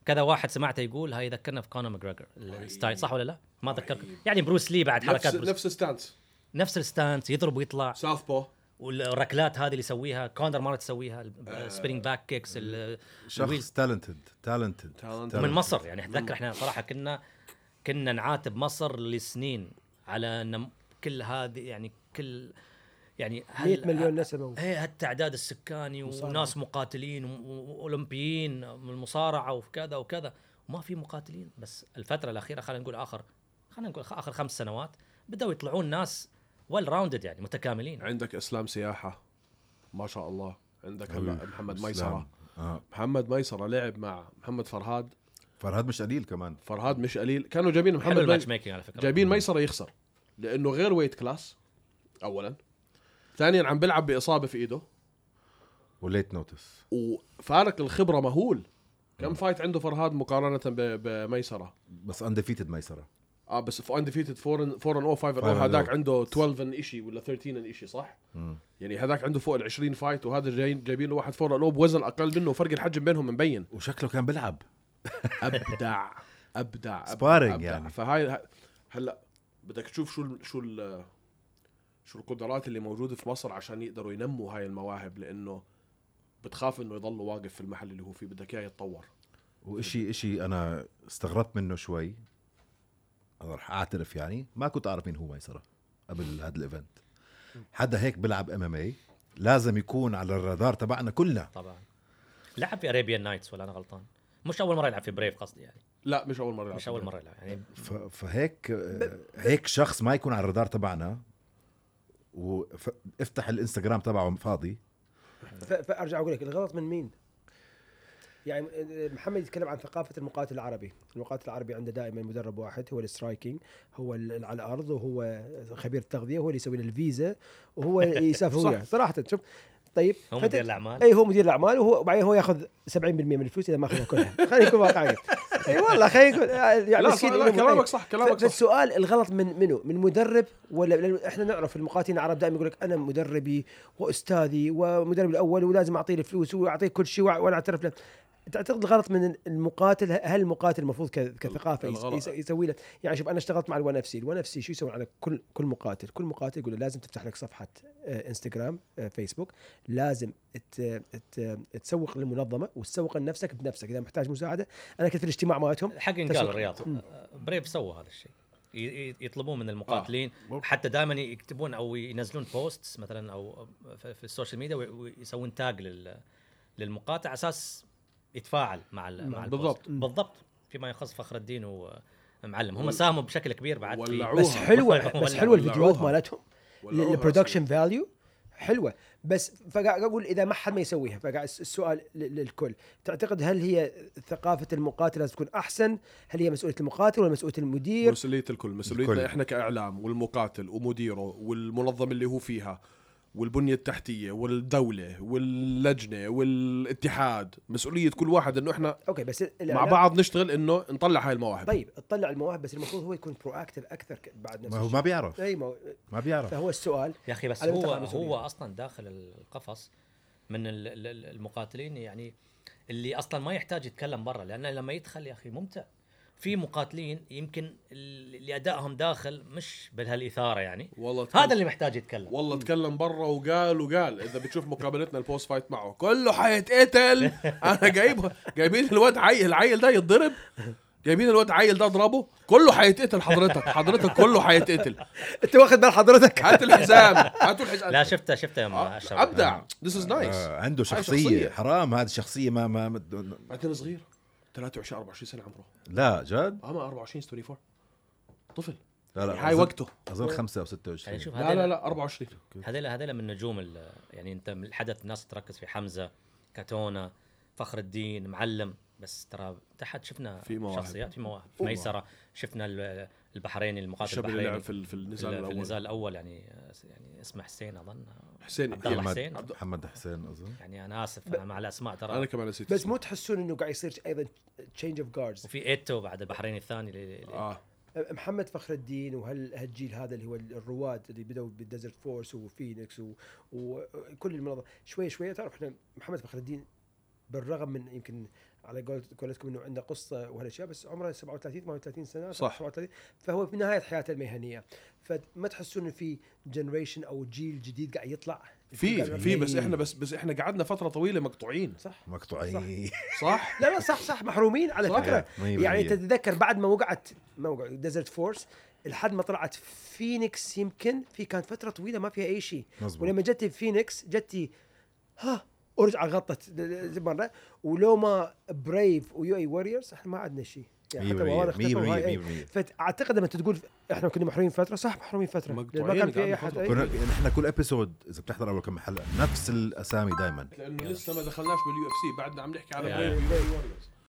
[SPEAKER 2] كذا واحد سمعته يقول هاي يذكرنا في كونر ماجريجر الستايل صح ولا لا؟ ما ذكرك يعني بروس لي بعد
[SPEAKER 4] نفس
[SPEAKER 2] حركات بروس
[SPEAKER 4] نفس ستانس
[SPEAKER 2] نفس الستانس يضرب ويطلع
[SPEAKER 4] ساوث بو
[SPEAKER 2] والركلات هذه اللي يسويها كونر مره تسويها
[SPEAKER 4] آه.
[SPEAKER 2] السبيننج باك كيكس
[SPEAKER 5] شخص تالنتد تالنتد
[SPEAKER 4] Talented.
[SPEAKER 2] من مصر يعني اتذكر احنا صراحه كنا كنا نعاتب مصر لسنين على ان كل هذه يعني كل يعني
[SPEAKER 3] 100 مليون نسمه
[SPEAKER 2] ايه هالتعداد السكاني
[SPEAKER 3] مصارعة.
[SPEAKER 2] وناس مقاتلين و- واولمبيين من المصارعه وكذا وكذا وما في مقاتلين بس الفتره الاخيره خلينا نقول اخر خلينا نقول اخر خمس سنوات بداوا يطلعون ناس ويل راوندد يعني متكاملين
[SPEAKER 4] عندك اسلام سياحه ما شاء الله عندك هلا محمد ميسره
[SPEAKER 5] إسلام. آه.
[SPEAKER 4] محمد ميسره لعب مع محمد فرهاد
[SPEAKER 5] فرهاد مش قليل كمان
[SPEAKER 4] فرهاد مش قليل كانوا جايبين محمد
[SPEAKER 2] حلو الماتش
[SPEAKER 4] مي...
[SPEAKER 2] ميكينج على فكره
[SPEAKER 4] جايبين ميسره يخسر لانه غير ويت كلاس اولا ثانيا عم بيلعب باصابه في ايده
[SPEAKER 5] وليت نوتس
[SPEAKER 4] وفارق الخبره مهول كم فايت عنده فرهاد مقارنه ب... بميسره
[SPEAKER 5] بس انديفيتد ميسره
[SPEAKER 4] اه بس في انديفيتد 4 4 او 5
[SPEAKER 5] Five and
[SPEAKER 4] هذاك
[SPEAKER 5] oh.
[SPEAKER 4] عنده 12 ان شيء ولا 13 ان شيء صح؟
[SPEAKER 5] مم.
[SPEAKER 4] يعني هذاك عنده فوق ال 20 فايت وهذا جاي جايبين له واحد 4 ان بوزن اقل منه وفرق الحجم بينهم
[SPEAKER 5] [laughs]
[SPEAKER 4] مبين
[SPEAKER 5] وشكله كان بيلعب
[SPEAKER 4] ابدع ابدع أبدع،
[SPEAKER 5] Sparring
[SPEAKER 4] أبدع.
[SPEAKER 5] يعني.
[SPEAKER 4] فهاي ه- هلا بدك تشوف شو ال شو ال شو القدرات اللي موجوده في مصر عشان يقدروا ينموا هاي المواهب لانه بتخاف انه يضل واقف في المحل اللي هو فيه بدك اياه يتطور
[SPEAKER 5] وإشي إشي أنا استغربت منه شوي أنا رح أعترف يعني ما كنت أعرف مين هو ميسرة قبل هذا الإيفنت حدا هيك بيلعب ام ام اي لازم يكون على الرادار تبعنا كلنا
[SPEAKER 2] طبعا لعب في اريبيان نايتس ولا انا غلطان مش اول مره يلعب في بريف قصدي يعني
[SPEAKER 4] لا مش اول مره يلعب.
[SPEAKER 2] مش اول مره يلعب يعني
[SPEAKER 5] ف- فهيك هيك شخص ما يكون على الرادار تبعنا وافتح الانستغرام تبعه فاضي
[SPEAKER 3] ف- فارجع اقول لك الغلط من مين؟ يعني محمد يتكلم عن ثقافه المقاتل العربي، المقاتل العربي عنده دائما مدرب واحد هو السترايكينج، هو ال- على الارض وهو خبير التغذيه هو اللي يسوي له الفيزا وهو [laughs] يسافر
[SPEAKER 4] صح.
[SPEAKER 3] وياه، صراحه شوف طيب
[SPEAKER 2] هو
[SPEAKER 3] فت-
[SPEAKER 2] مدير الأعمال.
[SPEAKER 3] اي هو مدير الاعمال وهو وبعدين هو ياخذ 70% من الفلوس اذا ما اخذها كلها، [laughs] خلينا نكون واقعيين. اي والله خلينا نكون يعني
[SPEAKER 4] لا, صح
[SPEAKER 3] مسكين
[SPEAKER 4] لا
[SPEAKER 3] يقوم-
[SPEAKER 5] إيه.
[SPEAKER 4] كلامك صح كلامك صح
[SPEAKER 3] فالسؤال الغلط من منو؟ من مدرب ولا لأن احنا نعرف المقاتلين العرب دائما يقول لك انا مدربي واستاذي ومدربي الاول ولازم اعطيه الفلوس واعطيه كل شيء وأع- وانا اعترف له. تعتقد الغلط من المقاتل هل المقاتل المفروض ك- كثقافه يس-
[SPEAKER 4] الغلط.
[SPEAKER 3] يس- يسوي له يعني شوف انا اشتغلت مع الون اف سي، الون اف سي شو يسوي على كل كل مقاتل؟ كل مقاتل يقول له لازم تفتح لك صفحه آه، انستغرام آه، فيسبوك لازم ت- ت- تسوق للمنظمه وتسوق لنفسك بنفسك اذا محتاج مساعده انا كنت في الاجتماع مالتهم
[SPEAKER 2] الحق
[SPEAKER 3] تسوق.
[SPEAKER 2] ينقال الرياض بريف سووا هذا الشيء ي- ي- يطلبون من المقاتلين حتى دائما يكتبون او ينزلون بوستس مثلا او في في السوشيال ميديا وي- ويسوون تاج لل للمقاتل على اساس يتفاعل مع ال- مع البوست.
[SPEAKER 4] بالضبط.
[SPEAKER 2] بالضبط فيما يخص فخر الدين ومعلم هم ساهموا بشكل كبير بعد في-
[SPEAKER 4] ولعوها.
[SPEAKER 3] بس [laughs] حلوه بس
[SPEAKER 2] ولعوها.
[SPEAKER 3] حلوه الفيديوهات
[SPEAKER 4] ولعوها.
[SPEAKER 3] مالتهم
[SPEAKER 4] ولعوها
[SPEAKER 3] البرودكشن فاليو حلوه بس فقاعد اقول اذا ما حد ما يسويها فقاعد الس- السؤال لل- للكل تعتقد هل هي ثقافه المقاتل لازم تكون احسن هل هي مسؤوليه المقاتل ولا مسؤوليه المدير
[SPEAKER 4] مسؤولية الكل مسؤوليتنا
[SPEAKER 5] الكل.
[SPEAKER 4] احنا كاعلام والمقاتل ومديره والمنظمة اللي هو فيها والبنية التحتية والدولة واللجنة والاتحاد مسؤولية كل واحد انه احنا
[SPEAKER 3] اوكي بس
[SPEAKER 4] مع
[SPEAKER 3] الإعلام-
[SPEAKER 4] بعض نشتغل انه نطلع هاي المواهب
[SPEAKER 3] طيب اطلع المواهب بس المفروض هو يكون برو اكتف اكثر ك- بعد نفسه
[SPEAKER 5] ما هو ما طيب. بيعرف
[SPEAKER 3] اي ما هو-
[SPEAKER 5] ما بيعرف
[SPEAKER 3] فهو السؤال
[SPEAKER 2] يا اخي بس
[SPEAKER 3] على
[SPEAKER 2] هو
[SPEAKER 3] منتخب
[SPEAKER 2] هو
[SPEAKER 4] يعني.
[SPEAKER 3] المسؤولية.
[SPEAKER 2] اصلا داخل القفص من ال- ال- ال- المقاتلين يعني اللي اصلا ما يحتاج يتكلم برا لانه لما يدخل يا اخي ممتع في مقاتلين يمكن ال- اللي ادائهم داخل مش بهالاثاره يعني
[SPEAKER 4] والله تكلم.
[SPEAKER 2] هذا اللي محتاج يتكلم
[SPEAKER 4] والله تكلم برا وقال وقال اذا بتشوف مقابلتنا البوست فايت معه كله حيتقتل انا جايبها جايبين الواد عيل العيل ده يتضرب جايبين الواد عيل ده اضربه كله حيتقتل حضرتك حضرتك كله حيتقتل
[SPEAKER 3] انت واخد بال حضرتك
[SPEAKER 4] هات الحزام هاتوا الحزام
[SPEAKER 2] لا شفته شفته يوم
[SPEAKER 4] آه،
[SPEAKER 2] اشرف
[SPEAKER 4] ابدع ذس از نايس
[SPEAKER 5] آه عنده
[SPEAKER 4] هاي
[SPEAKER 5] شخصية,
[SPEAKER 4] شخصية.
[SPEAKER 5] حرام هذه الشخصية ما ما
[SPEAKER 4] بعدين صغير 23 24 سنه عمره
[SPEAKER 5] لا جد
[SPEAKER 4] اما 24 24 طفل يعني
[SPEAKER 5] لا لا
[SPEAKER 4] هاي
[SPEAKER 5] أظن-
[SPEAKER 4] وقته
[SPEAKER 5] اظن خمسه او ستة
[SPEAKER 2] يعني
[SPEAKER 5] وعشرين
[SPEAKER 2] شوف
[SPEAKER 4] لا لا
[SPEAKER 2] هذا
[SPEAKER 4] لا 24
[SPEAKER 2] هذيل هذيل من نجوم ال- يعني انت من الحدث الناس تركز في حمزه كاتونا فخر الدين معلم بس ترى تحت شفنا
[SPEAKER 4] في مواهب.
[SPEAKER 2] شخصيات في مواهب
[SPEAKER 4] في
[SPEAKER 2] ميسره شفنا ال- البحريني المقاتل
[SPEAKER 4] الشاب اللي لعب
[SPEAKER 2] البحريني
[SPEAKER 4] في, ال- في
[SPEAKER 2] في
[SPEAKER 4] النزال
[SPEAKER 2] ال- في
[SPEAKER 4] الاول
[SPEAKER 2] النزال الاول يعني يعني اسمه حسين اظن
[SPEAKER 4] حسين
[SPEAKER 2] عبد الله
[SPEAKER 4] أحمد.
[SPEAKER 2] حسين
[SPEAKER 4] عبد-
[SPEAKER 5] محمد حسين اظن
[SPEAKER 2] يعني انا اسف انا مع الاسماء
[SPEAKER 4] انا
[SPEAKER 2] ترى
[SPEAKER 4] كمان نسيت
[SPEAKER 3] بس مو تحسون انه قاعد يصير ايضا تشينج اوف جاردز
[SPEAKER 2] وفي ايتو بعد البحريني الثاني اللي- اللي-
[SPEAKER 4] اه
[SPEAKER 3] محمد فخر الدين وهالجيل هذا اللي هو الرواد اللي بدأوا بالديزرت فورس وفينيكس و- وكل المنظمه شوي شوي تعرف احنا محمد فخر الدين بالرغم من يمكن على قول- قولتكم انه عنده قصه وهالاشياء بس عمره 37 38 سنه
[SPEAKER 4] صح.
[SPEAKER 3] 37 فهو في نهايه حياته المهنيه فما تحسون انه في جنريشن او جيل جديد قاعد يطلع
[SPEAKER 4] في
[SPEAKER 3] قاعد
[SPEAKER 4] في
[SPEAKER 3] يطلع.
[SPEAKER 4] بس احنا بس بس احنا قعدنا فتره طويله مقطوعين
[SPEAKER 3] صح
[SPEAKER 5] مقطوعين
[SPEAKER 4] [laughs] صح
[SPEAKER 3] لا لا صح صح محرومين على
[SPEAKER 4] صح.
[SPEAKER 3] فكره
[SPEAKER 5] مية
[SPEAKER 3] يعني
[SPEAKER 5] بالمية.
[SPEAKER 3] تتذكر بعد ما وقعت ما وقعت ديزرت فورس لحد ما طلعت فينيكس يمكن في كانت فتره طويله ما فيها اي شيء
[SPEAKER 5] مظبوط.
[SPEAKER 3] ولما جت فينيكس جتي ها ورجع غطت ل- ل- مره ولو ما بريف ويو اي ووريرز احنا ما عندنا شيء يعني
[SPEAKER 5] مية
[SPEAKER 3] حتى
[SPEAKER 5] بالمية،
[SPEAKER 3] وهذا اختفى
[SPEAKER 5] مية بالمية،
[SPEAKER 3] وهاي-
[SPEAKER 5] مية بالمية.
[SPEAKER 3] فاعتقد لما تقول احنا كنا محرومين فتره صح محرومين فتره لأن ما يعني
[SPEAKER 4] مقطوعين
[SPEAKER 3] كان في اي
[SPEAKER 4] قعدنا
[SPEAKER 3] احد
[SPEAKER 4] فترة.
[SPEAKER 3] أي-
[SPEAKER 5] كنا احنا كل ابيسود اذا بتحضر اول كم حلقه نفس الاسامي دائما
[SPEAKER 4] لانه لسه ما دخلناش باليو اف سي بعدنا عم نحكي على
[SPEAKER 2] يا
[SPEAKER 4] بريف يو اي ووريرز